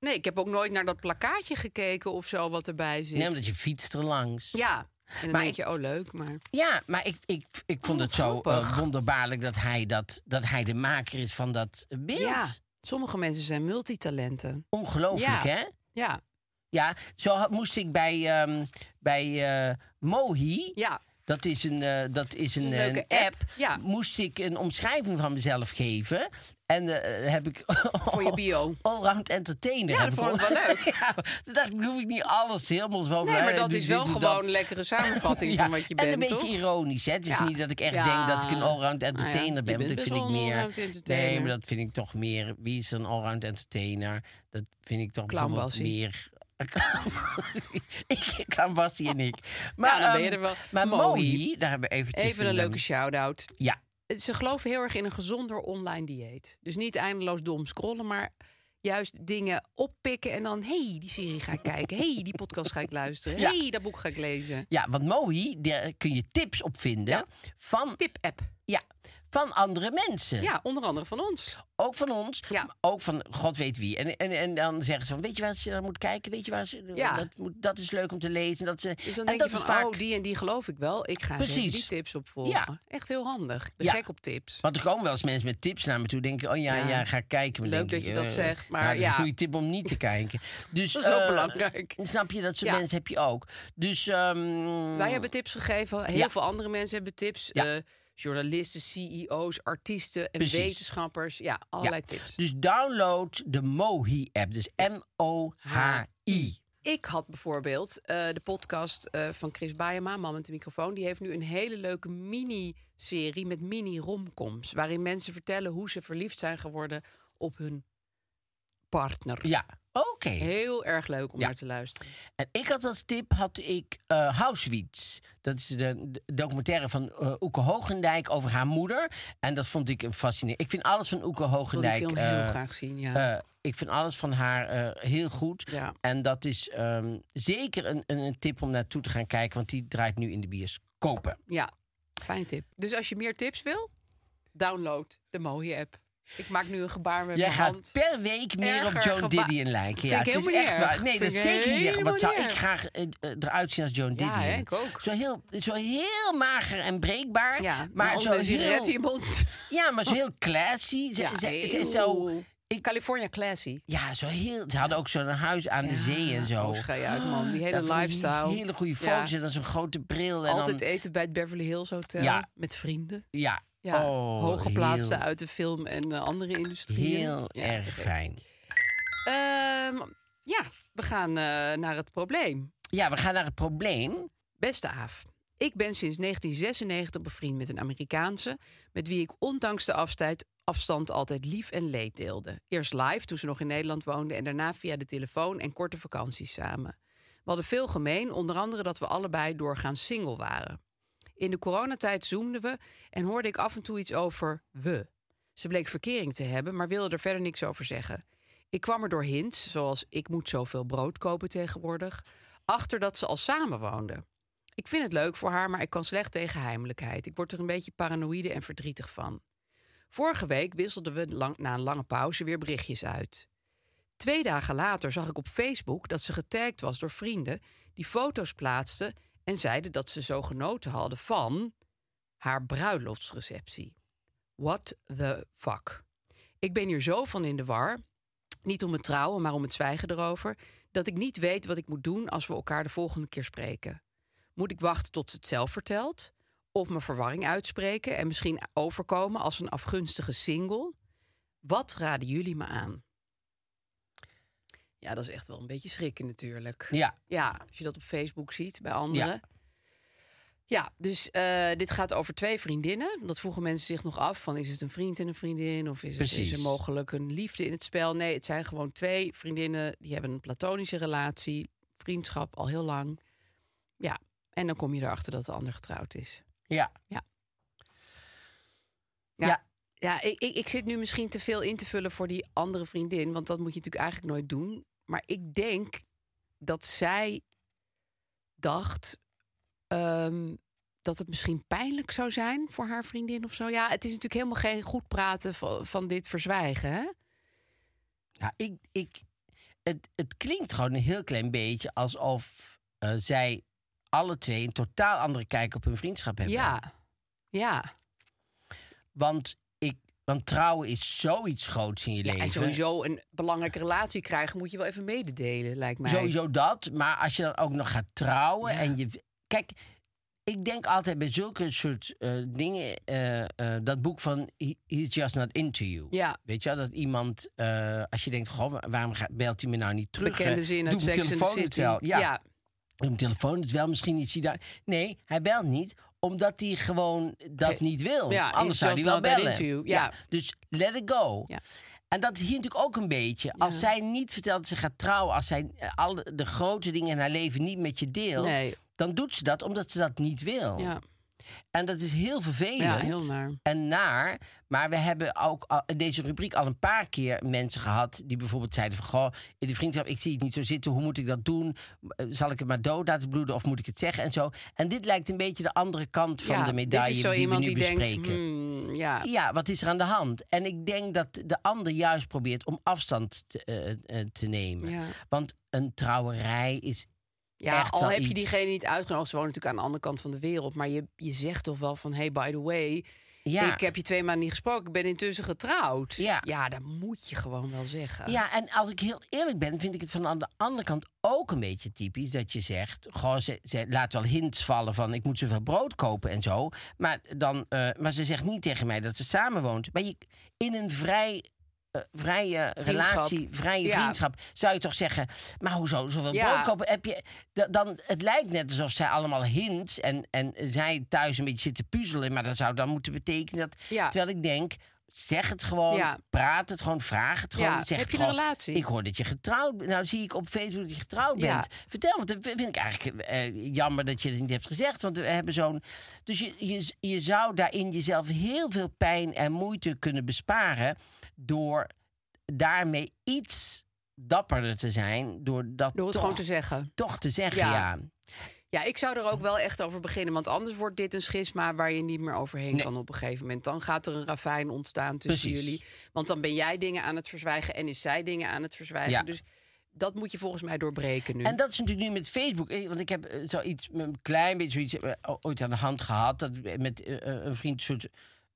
S3: Nee, ik heb ook nooit naar dat plakkaatje gekeken of zo wat erbij zit.
S1: Nee, omdat je fietst er langs.
S3: Ja, en dan
S1: Maar
S3: denk
S1: ik-
S3: je, oh leuk, maar...
S1: Ja, maar ik, ik, ik vond
S3: wat
S1: het zo eh,
S3: grappig.
S1: wonderbaarlijk dat hij, dat, dat hij de maker is van dat beeld.
S3: Ja, sommige mensen zijn multitalenten.
S1: Ongelooflijk,
S3: Ja.
S1: hè?
S3: Ja,
S1: Ja, zo had- moest ik bij, ehm, bij eh, Mohi...
S3: ja.
S1: Dat is een, eh, dat is een,
S3: een
S1: eh,
S3: leuke
S1: een app.
S3: app, ja.
S1: Moest ik een omschrijving van mezelf geven. En eh, heb ik... Voor
S3: je bio.
S1: Allround entertainer.
S3: Ja,
S1: heb
S3: dat vond
S1: on-
S3: ik wel leuk.
S1: ja, toen dacht ik, nu hoef ik niet alles helemaal zo van,
S3: Nee, maar
S1: eh,
S3: dat
S1: doe
S3: is
S1: dit,
S3: wel
S1: doe
S3: gewoon
S1: dat.
S3: een lekkere samenvatting
S1: Ja,
S3: van wat je
S1: en
S3: bent,
S1: een beetje
S3: toch?
S1: ironisch, hè. Het is
S3: Ja.
S1: niet dat ik echt
S3: Ja.
S1: denk dat ik een allround
S3: Nou ja,
S1: entertainer
S3: je
S1: ben. Want
S3: bent
S1: dat
S3: best
S1: vind ik
S3: wel een
S1: meer...
S3: allround entertainer.
S1: Nee, maar dat vind ik toch meer... Wie is een allround entertainer? Dat vind ik toch
S3: Clown
S1: bijvoorbeeld
S3: Bassie.
S1: meer... ik kan Bassie en ik.
S3: Nou, dan ben je
S1: ehm,
S3: er wel.
S1: Maar
S3: Mohi.
S1: Mohi, daar hebben we eventjes
S3: Even een leuke shout-out.
S1: ehm, Ja,
S3: Ze geloven heel erg in een gezonder online dieet. Dus niet eindeloos dom scrollen, maar juist dingen oppikken en dan... hey, die serie ga ik kijken. hey, die podcast ga ik luisteren.
S1: Ja.
S3: hey, dat boek ga ik lezen.
S1: Ja, want Mohi, daar kun je tips op vinden van,
S3: Tip-app.
S1: ja, van andere mensen.
S3: Ja, onder andere van ons.
S1: Ook van ons,
S3: Ja.
S1: maar ook van god weet wie. En, en, en dan zeggen ze van, weet je waar ze naar moet kijken? Weet je waar ze,
S3: Ja.
S1: dat, moet, dat is leuk om te lezen. Dat ze,
S3: Dus dan
S1: en
S3: denk
S1: dat
S3: je
S1: is
S3: van,
S1: vaak...
S3: oh, die en die geloof ik wel. Ik ga
S1: Precies.
S3: zeker die tips opvolgen.
S1: Ja.
S3: Echt heel handig. Ik ben
S1: Ja. Mm.
S3: gek op tips.
S1: Want er komen wel eens mensen met tips naar me toe. Denken, oh ja, ja,
S3: Ja.
S1: ga kijken. Maar
S3: Leuk
S1: denk
S3: dat
S1: ik,
S3: je dat
S1: eh,
S3: zegt, maar
S1: nou, dat is
S3: ja.
S1: een goede tip om niet te kijken. Dus,
S3: Dat is ook
S1: eh,
S3: belangrijk.
S1: Snap je, dat soort
S3: Ja.
S1: mensen heb je ook. Dus ehm,
S3: Wij hebben tips gegeven. Heel
S1: Ja.
S3: veel andere mensen hebben tips.
S1: Ja.
S3: Eh, journalisten, CEO's, artiesten en
S1: Precies.
S3: wetenschappers. Ja, allerlei tips.
S1: Dus download de Mohi-app. Dus M-O-H-I.
S3: Ik had bijvoorbeeld eh, de podcast eh, van Chris Baiema, Man met de microfoon. Die heeft nu een hele leuke mini-serie met mini-romcoms. Waarin mensen vertellen hoe ze verliefd zijn geworden op hun partner.
S1: Ja, oké.
S3: Heel erg leuk om
S1: Ja.
S3: naar te luisteren.
S1: En ik had als tip, had ik eh Housewits. Dat is de, de documentaire van eh, Oeke Hogendijk over haar moeder. En dat vond ik een fascinerend. Ik vind alles van Oeke
S3: Ik wil die
S1: Hogendijk...
S3: film
S1: eh,
S3: heel graag zien, ja.
S1: Eh, ik vind alles van haar eh, heel goed.
S3: Ja.
S1: En dat is ehm, zeker een, een, een tip om naartoe te gaan kijken, want die draait nu in de bioscopen.
S3: Ja, fijn tip. Dus als je meer tips wil, download de mooie app. Ik maak nu een gebaar met
S1: Jij
S3: mijn
S1: gaat
S3: hand.
S1: per week meer
S3: Erger
S1: op Joan
S3: geba-
S1: Didion lijken. Ja,
S3: Vind ik
S1: het is
S3: helemaal niet
S1: echt
S3: erg.
S1: waar. Nee,
S3: Vind
S1: dat is
S3: ik
S1: zeker niet erg. Wat
S3: helemaal
S1: zou
S3: niet
S1: ik
S3: erg.
S1: graag eh, eh, eruit zien als Joan
S3: Ja,
S1: Didion?
S3: hè, ik ook.
S1: Zo heel, zo heel mager en breekbaar.
S3: Ja,
S1: maar zo
S3: een sigaret in
S1: heel,
S3: je mond.
S1: ja, maar zo heel classy. Ze,
S3: Ja,
S1: ze- ze-
S3: heel-
S1: zo,
S3: California classy.
S1: ja, zo heel, ze hadden ook zo'n huis aan de zee en zo.
S3: Oh, schei uit, man. Die hele
S1: Ja, van die
S3: lifestyle.
S1: Hele goede
S3: Ja.
S1: foto's en dan zo'n grote bril. En
S3: Altijd
S1: dan,
S3: eten bij het Beverly Hills Hotel.
S1: Ja.
S3: Met vrienden.
S1: Ja,
S3: Ja,
S1: Oh,
S3: hooggeplaatste
S1: heel-
S3: uit de film en eh, andere industrieën.
S1: Heel
S3: Ja, te
S1: erg
S3: gek.
S1: fijn.
S3: Ehm, ja, we gaan eh, naar het probleem.
S1: Ja, we gaan naar het probleem.
S3: Beste Aaf, ik ben sinds 1996 bevriend met een Amerikaanse... met wie ik ondanks de afstijd- afstand altijd lief en leed deelde. Eerst live toen ze nog in Nederland woonde... en daarna via de telefoon en korte vakanties samen. We hadden veel gemeen, onder andere dat we allebei doorgaans single waren. In de coronatijd zoomden we en hoorde ik af en toe iets over we. Ze bleek verkering te hebben, maar wilde er verder niks over zeggen. Ik kwam er door hints, zoals ik moet zoveel brood kopen tegenwoordig... achter dat ze al samen woonden. Ik vind het leuk voor haar, maar ik kan slecht tegen heimelijkheid. Ik word er een beetje paranoïde en verdrietig van. Vorige week wisselden we lang- na een lange pauze weer berichtjes uit. Twee dagen later zag ik op Facebook dat ze getagd was door vrienden die foto's plaatsten en zeiden dat ze zo genoten hadden van haar bruiloftsreceptie. What the fuck? Ik ben hier zo van in de war, niet om het trouwen, maar om het zwijgen erover, dat ik niet weet wat ik moet doen als we elkaar de volgende keer spreken. Moet ik wachten tot ze het zelf vertelt? Of mijn verwarring uitspreken en misschien overkomen als een afgunstige single? Wat raden jullie me aan? Ja, dat is echt wel een beetje schrikken natuurlijk.
S1: Ja.
S3: Ja, als je dat op Facebook ziet bij anderen. Ja, dus eh, dit gaat over twee vriendinnen. Dat vroegen mensen zich nog af: van is het een vriend en een vriendin? Of is, het, is
S1: Precies.
S3: er mogelijk een liefde in het spel? Nee, het zijn gewoon twee vriendinnen die hebben een platonische relatie, vriendschap al heel lang. Ja, en dan kom je erachter dat de ander getrouwd is.
S1: Ja.
S3: Ja.
S1: Ja.
S3: ja. ik, ik, ik zit nu misschien te veel in te vullen voor die andere vriendin. Want dat moet je natuurlijk eigenlijk nooit doen. Maar ik denk dat zij dacht ehm, dat het misschien pijnlijk zou zijn voor haar vriendin of zo. Ja, het is natuurlijk helemaal geen goed praten van, van dit verzwijgen. Hè?
S1: Nou, ik, ik, het, het klinkt gewoon een heel klein beetje alsof eh, zij alle twee een totaal andere kijk op hun vriendschap hebben.
S3: Ja. Ja.
S1: Want, ik, want trouwen is zoiets groots in je
S3: ja,
S1: leven.
S3: en sowieso een belangrijke relatie krijgen moet je wel even mededelen, lijkt mij.
S1: Sowieso dat. Maar als je dan ook nog gaat trouwen en je. Kijk, ik denk altijd bij zulke soort eh, dingen. eh, eh, dat boek van He- He's Just Not Into You.
S3: Ja.
S1: Weet je wel, dat iemand. eh, als je denkt, goh, wa- waarom ga- belt hij me nou niet terug?
S3: Bekende
S1: Eh,
S3: zin
S1: doet
S3: uit
S1: mijn
S3: Sex and the
S1: telefoon
S3: City.
S1: het wel. Ja,
S3: ja.
S1: doet mijn telefoon het wel. Misschien niet. Zie daar. Nee, hij belt niet omdat hij gewoon dat
S3: Ge-
S1: niet wil.
S3: Ja,
S1: Anders
S3: he's
S1: zou hij
S3: just
S1: wel
S3: not that
S1: bellen.
S3: into you. Ja.
S1: Dus let it go.
S3: Ja.
S1: En dat is hier natuurlijk ook een beetje. Als zij niet vertelt dat ze gaat trouwen, als zij eh, al de grote dingen in haar leven niet met je deelt,
S3: Nee.
S1: dan doet ze dat omdat ze dat niet wil.
S3: Ja.
S1: En dat is heel vervelend.
S3: Ja, heel naar.
S1: En naar. Maar we hebben ook al- in deze rubriek al een paar keer mensen gehad... die bijvoorbeeld zeiden van... Goh, in de vriendschap, ik zie het niet zo zitten. Hoe moet ik dat doen? Eh, Zal ik het maar dood laten bloeden of moet ik het zeggen? En zo. En dit lijkt een beetje de andere kant van
S3: ja,
S1: de medaille
S3: dit is zo
S1: die
S3: iemand
S1: we nu
S3: die
S1: bespreken.
S3: denkt, hmm, ja,
S1: Ja, wat is er aan de hand? En ik denk dat de ander juist probeert om afstand te, eh, eh, te nemen.
S3: Ja.
S1: Want een trouwerij is
S3: ja
S1: echt
S3: al
S1: wel
S3: heb je
S1: iets.
S3: diegene niet uitgenodigd, ze wonen natuurlijk aan de andere kant van de wereld, maar je, je zegt toch wel van, hey, by the way,
S1: Ja.
S3: ik heb je twee maanden niet gesproken, ik ben intussen getrouwd.
S1: Ja.
S3: ja dat moet je gewoon wel zeggen.
S1: Ja, en als ik heel eerlijk ben, vind ik het van aan de andere kant ook een beetje typisch dat je zegt: Goh, ze, ze laat wel hints vallen van ik moet zoveel brood kopen en zo. Maar, dan, eh, maar ze zegt niet tegen mij dat ze samen woont. Maar je, in een vrij. eh, vrije
S3: Vriendschap.
S1: relatie, vrije
S3: Ja.
S1: vriendschap, zou je toch zeggen... maar hoezo, zoveel
S3: Ja.
S1: brood kopen heb je... da- Dan, het lijkt net alsof zij allemaal hints... en, en zij thuis een beetje zit te puzzelen... maar dat zou dan moeten betekenen dat...
S3: Ja.
S1: terwijl ik denk, zeg het gewoon,
S3: Ja.
S1: praat het gewoon, vraag het gewoon.
S3: Ja,
S1: Zeg
S3: heb
S1: het
S3: je een
S1: gewoon,
S3: relatie?
S1: Ik hoor dat je getrouwd bent. Nou zie ik op Facebook dat je getrouwd
S3: Ja.
S1: bent. Vertel, want dat vind ik eigenlijk eh, jammer dat je het niet hebt gezegd. Want we hebben zo'n... Dus je, je, je zou daarin jezelf heel veel pijn en moeite kunnen besparen... door daarmee iets dapperder te zijn. Door dat
S3: Door het
S1: toch,
S3: gewoon te zeggen.
S1: toch te zeggen, ja.
S3: Ja. Ja, ik zou er ook wel echt over beginnen. Want anders wordt dit een schisma waar je niet meer overheen kan op een gegeven moment. Dan gaat er een ravijn ontstaan tussen
S1: Precies.
S3: jullie. Want dan ben jij dingen aan het verzwijgen en is zij dingen aan het verzwijgen.
S1: Ja.
S3: Dus dat moet je volgens mij doorbreken nu.
S1: En dat is natuurlijk nu met Facebook. eh, Want ik heb eh, zoiets, een klein beetje zoiets eh, o- ooit aan de hand gehad. Dat we met eh, eh, een vriend een soort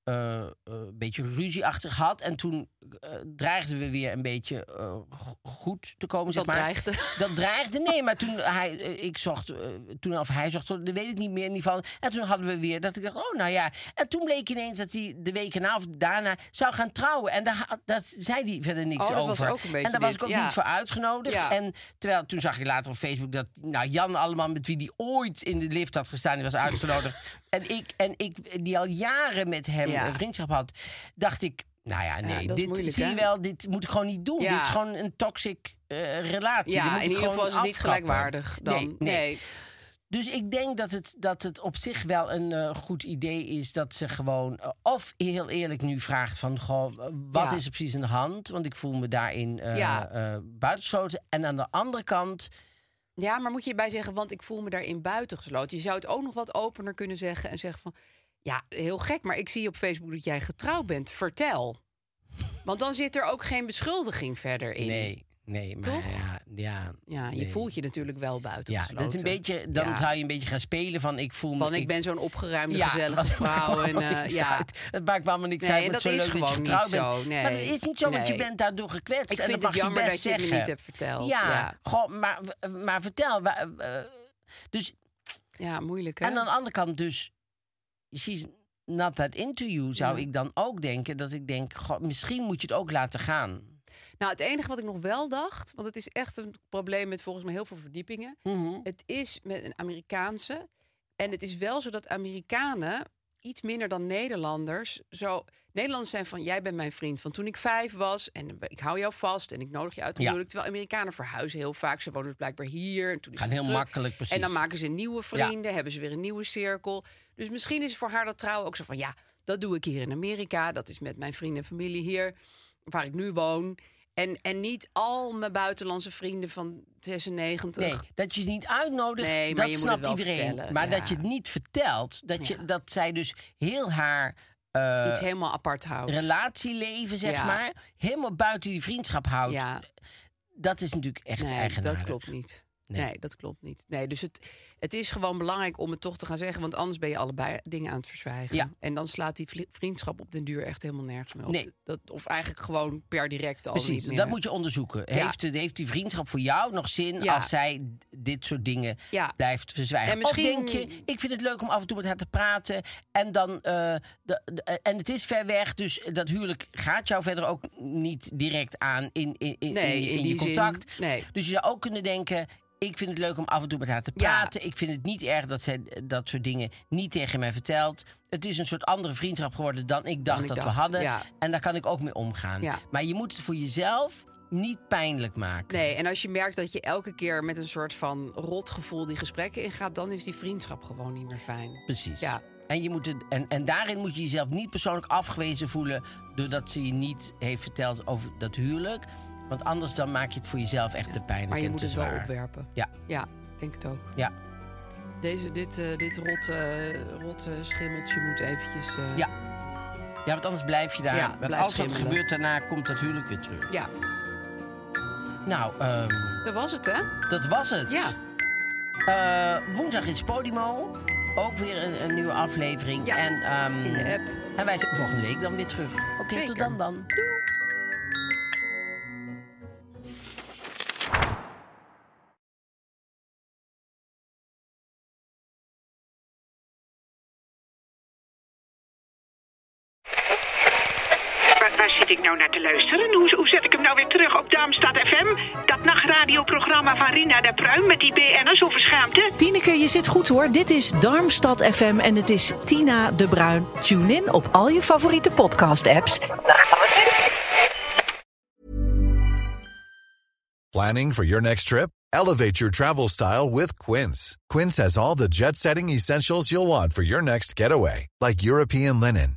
S1: eh, eh, beetje ruzieachtig had. En toen eh, dreigden we weer een beetje eh, go- goed te komen. zeg
S3: Dat
S1: maar.
S3: dreigde.
S1: Dat dreigde, nee. Maar toen hij, eh, ik zocht, eh, toen of hij zocht, dat weet ik niet meer in ieder geval. En toen hadden we weer dat ik dacht, oh nou ja. En toen bleek ineens dat hij de week erna of daarna zou gaan trouwen. En daar, had- daar zei hij verder niks
S3: Oh, dat
S1: over.
S3: was ook een beetje
S1: en daar was
S3: dit,
S1: ik ook
S3: ja.
S1: niet voor uitgenodigd.
S3: Ja.
S1: En terwijl toen zag je later op Facebook dat nou, Jan allemaal met wie die ooit in de lift had gestaan, die was uitgenodigd. en ik en ik die al jaren met hem
S3: Ja.
S1: een vriendschap had, dacht ik, nou ja, nee,
S3: dat is
S1: dit
S3: moeilijk,
S1: zie
S3: hè?
S1: je wel, dit moet ik gewoon niet doen.
S3: Ja.
S1: Dit is gewoon een toxic eh, relatie. Dit
S3: ja,
S1: moet
S3: in
S1: ik
S3: ieder geval
S1: gewoon
S3: is het niet
S1: afkappen.
S3: gelijkwaardig dan.
S1: Nee, nee. Dus ik denk dat het, dat het op zich wel een eh, goed idee is dat ze gewoon eh, of heel eerlijk nu vraagt van goh, eh, wat
S3: Ja.
S1: is er precies aan de hand? Want ik voel me daarin eh
S3: Ja.
S1: eh, buitengesloten. En aan de andere kant,
S3: Ja, maar moet je erbij zeggen, want ik voel me daarin buitengesloten. Je zou het ook nog wat opener kunnen zeggen en zeggen van... Ja, heel gek, maar ik zie op Facebook dat jij getrouwd bent. Vertel. Want dan zit er ook geen beschuldiging verder in.
S1: nee, nee, maar
S3: Toch?
S1: ja, ja,
S3: Ja, je
S1: nee.
S3: voelt je natuurlijk wel
S1: ja,
S3: buitengesloten.
S1: dat is een beetje, dan
S3: Ja.
S1: zou je een beetje gaan spelen van ik voel me.
S3: Van ik ben zo'n opgeruimde, gezellige
S1: wat-
S3: vrouw. En, eh,
S1: niks
S3: ja.
S1: uit. Het maakt me allemaal niks
S3: Nee,
S1: uit. maar
S3: dat
S1: het
S3: is
S1: zo leuk dat je
S3: gewoon niet
S1: getrouwd bent.
S3: zo, nee.
S1: Maar dat is niet zo, want je
S3: Nee.
S1: bent daardoor gekwetst.
S3: Ik
S1: en
S3: vind
S1: dat mag
S3: het jammer
S1: je best
S3: dat je het me
S1: zeggen.
S3: niet hebt verteld.
S1: Ja,
S3: Ja.
S1: Goh, maar, maar vertel. wa- eh, dus,
S3: ja, moeilijk hè?
S1: en aan de andere kant dus... She's not that into you, zou ik dan ook denken. Dat ik denk, goh, misschien moet je het ook laten gaan.
S3: Nou, het enige wat ik nog wel dacht, want het is echt een probleem met volgens mij heel veel verdiepingen.
S1: Mhm.
S3: Het is met een Amerikaanse. En het is wel zo dat Amerikanen iets minder dan Nederlanders zo. Nederlanders zijn van jij bent mijn vriend van toen ik vijf was en ik hou jou vast en ik nodig je uit op
S1: Ja.
S3: huwelijk. Terwijl Amerikanen verhuizen heel vaak. Ze wonen dus blijkbaar hier en toen is
S1: Gaan
S3: het
S1: heel
S3: druk.
S1: makkelijk, precies.
S3: En dan maken ze nieuwe vrienden, hebben ze weer een nieuwe cirkel. Dus misschien is voor haar dat trouwen ook zo van ja, dat doe ik hier in Amerika. Dat is met mijn vrienden en familie hier waar ik nu woon. En, en niet al mijn buitenlandse vrienden van 96.
S1: Nee, dat je het niet uitnodigt,
S3: Nee, maar
S1: dat
S3: je moet
S1: snapt
S3: het wel
S1: iedereen.
S3: vertellen,
S1: Maar
S3: ja.
S1: dat je het niet vertelt, dat, je, dat zij dus heel haar... eh,
S3: iets helemaal apart houden.
S1: relatieleven, zeg
S3: Ja.
S1: maar, helemaal buiten die vriendschap houdt.
S3: Ja,
S1: Dat is natuurlijk echt
S3: nee,
S1: eigenaardig.
S3: dat klopt niet.
S1: Nee.
S3: Nee. dat klopt niet. Nee, dus het, het is gewoon belangrijk om het toch te gaan zeggen, want anders ben je allebei dingen aan het verzwijgen.
S1: Ja.
S3: En dan slaat die vli- vriendschap op den duur echt helemaal nergens meer op.
S1: Nee.
S3: Dat, of eigenlijk gewoon per direct al
S1: Precies,
S3: niet meer.
S1: dat moet je onderzoeken.
S3: Ja.
S1: Heeft, het- heeft die vriendschap voor jou nog zin
S3: Ja.
S1: als zij d- dit soort dingen
S3: Ja.
S1: blijft verzwijgen?
S3: En misschien-
S1: Of denk je, ik vind het leuk om af en toe met haar te praten en, dan, eh, de- de- en het is ver weg, dus dat huwelijk gaat jou verder ook niet direct aan in, in, in,
S3: Nee,
S1: in je-
S3: in
S1: in je
S3: die zin,
S1: contact.
S3: nee.
S1: Dus je zou ook kunnen denken. Ik vind het leuk om af en toe met haar te
S3: Ja.
S1: praten. Ik vind het niet erg dat zij eh, dat soort dingen niet tegen mij vertelt. Het is een soort andere vriendschap geworden dan ik dacht
S3: ik
S1: dat
S3: dacht,
S1: we hadden.
S3: ja.
S1: En daar kan ik ook mee omgaan.
S3: Ja.
S1: Maar je moet het voor jezelf niet pijnlijk maken.
S3: Nee, en als je merkt dat je elke keer met een soort van rotgevoel die gesprekken ingaat, dan is die vriendschap gewoon niet meer fijn.
S1: Precies.
S3: Ja.
S1: En, je moet het, en, en daarin moet je jezelf niet persoonlijk afgewezen voelen. doordat ze je niet heeft verteld over dat huwelijk. Want anders dan maak je het voor jezelf echt te pijnlijk.
S3: Maar je
S1: en
S3: moet
S1: te
S3: het wel
S1: zwaar.
S3: opwerpen.
S1: Ja,
S3: Ja, denk het ook.
S1: ja,
S3: Deze, dit, eh, dit rotte, rotte schimmeltje moet eventjes... eh,
S1: ja. Ja, want anders blijf je daar.
S3: Ja,
S1: want
S3: blijf
S1: alles wat er
S3: schimmelen.
S1: gebeurt daarna komt dat huwelijk weer terug.
S3: ja,
S1: Nou, ehm,
S3: dat was het, hè?
S1: dat was het.
S3: Ja.
S1: Eh, woensdag is Podimo. Ook weer een, een nieuwe aflevering.
S3: Ja,
S1: En, ehm,
S3: in de app.
S1: en wij zijn volgende week dan weer terug. Oké,
S3: Zeker.
S1: tot dan dan.
S4: Waar, waar zit ik nou naar te luisteren? Hoe, hoe zet ik hem nou weer terug op Darmstad FM? Dat nachtradioprogramma van Rina de Pruim met die BN'ers over schaamte?
S5: Tineke, je zit goed hoor. Dit is Darmstad FM en het is Tina de Bruin. Tune in op al je favoriete podcast-apps
S6: Planning for your next trip? Elevate your travel style with Quince. Quince has all the jet setting essentials you'll want for your next getaway, like European linen,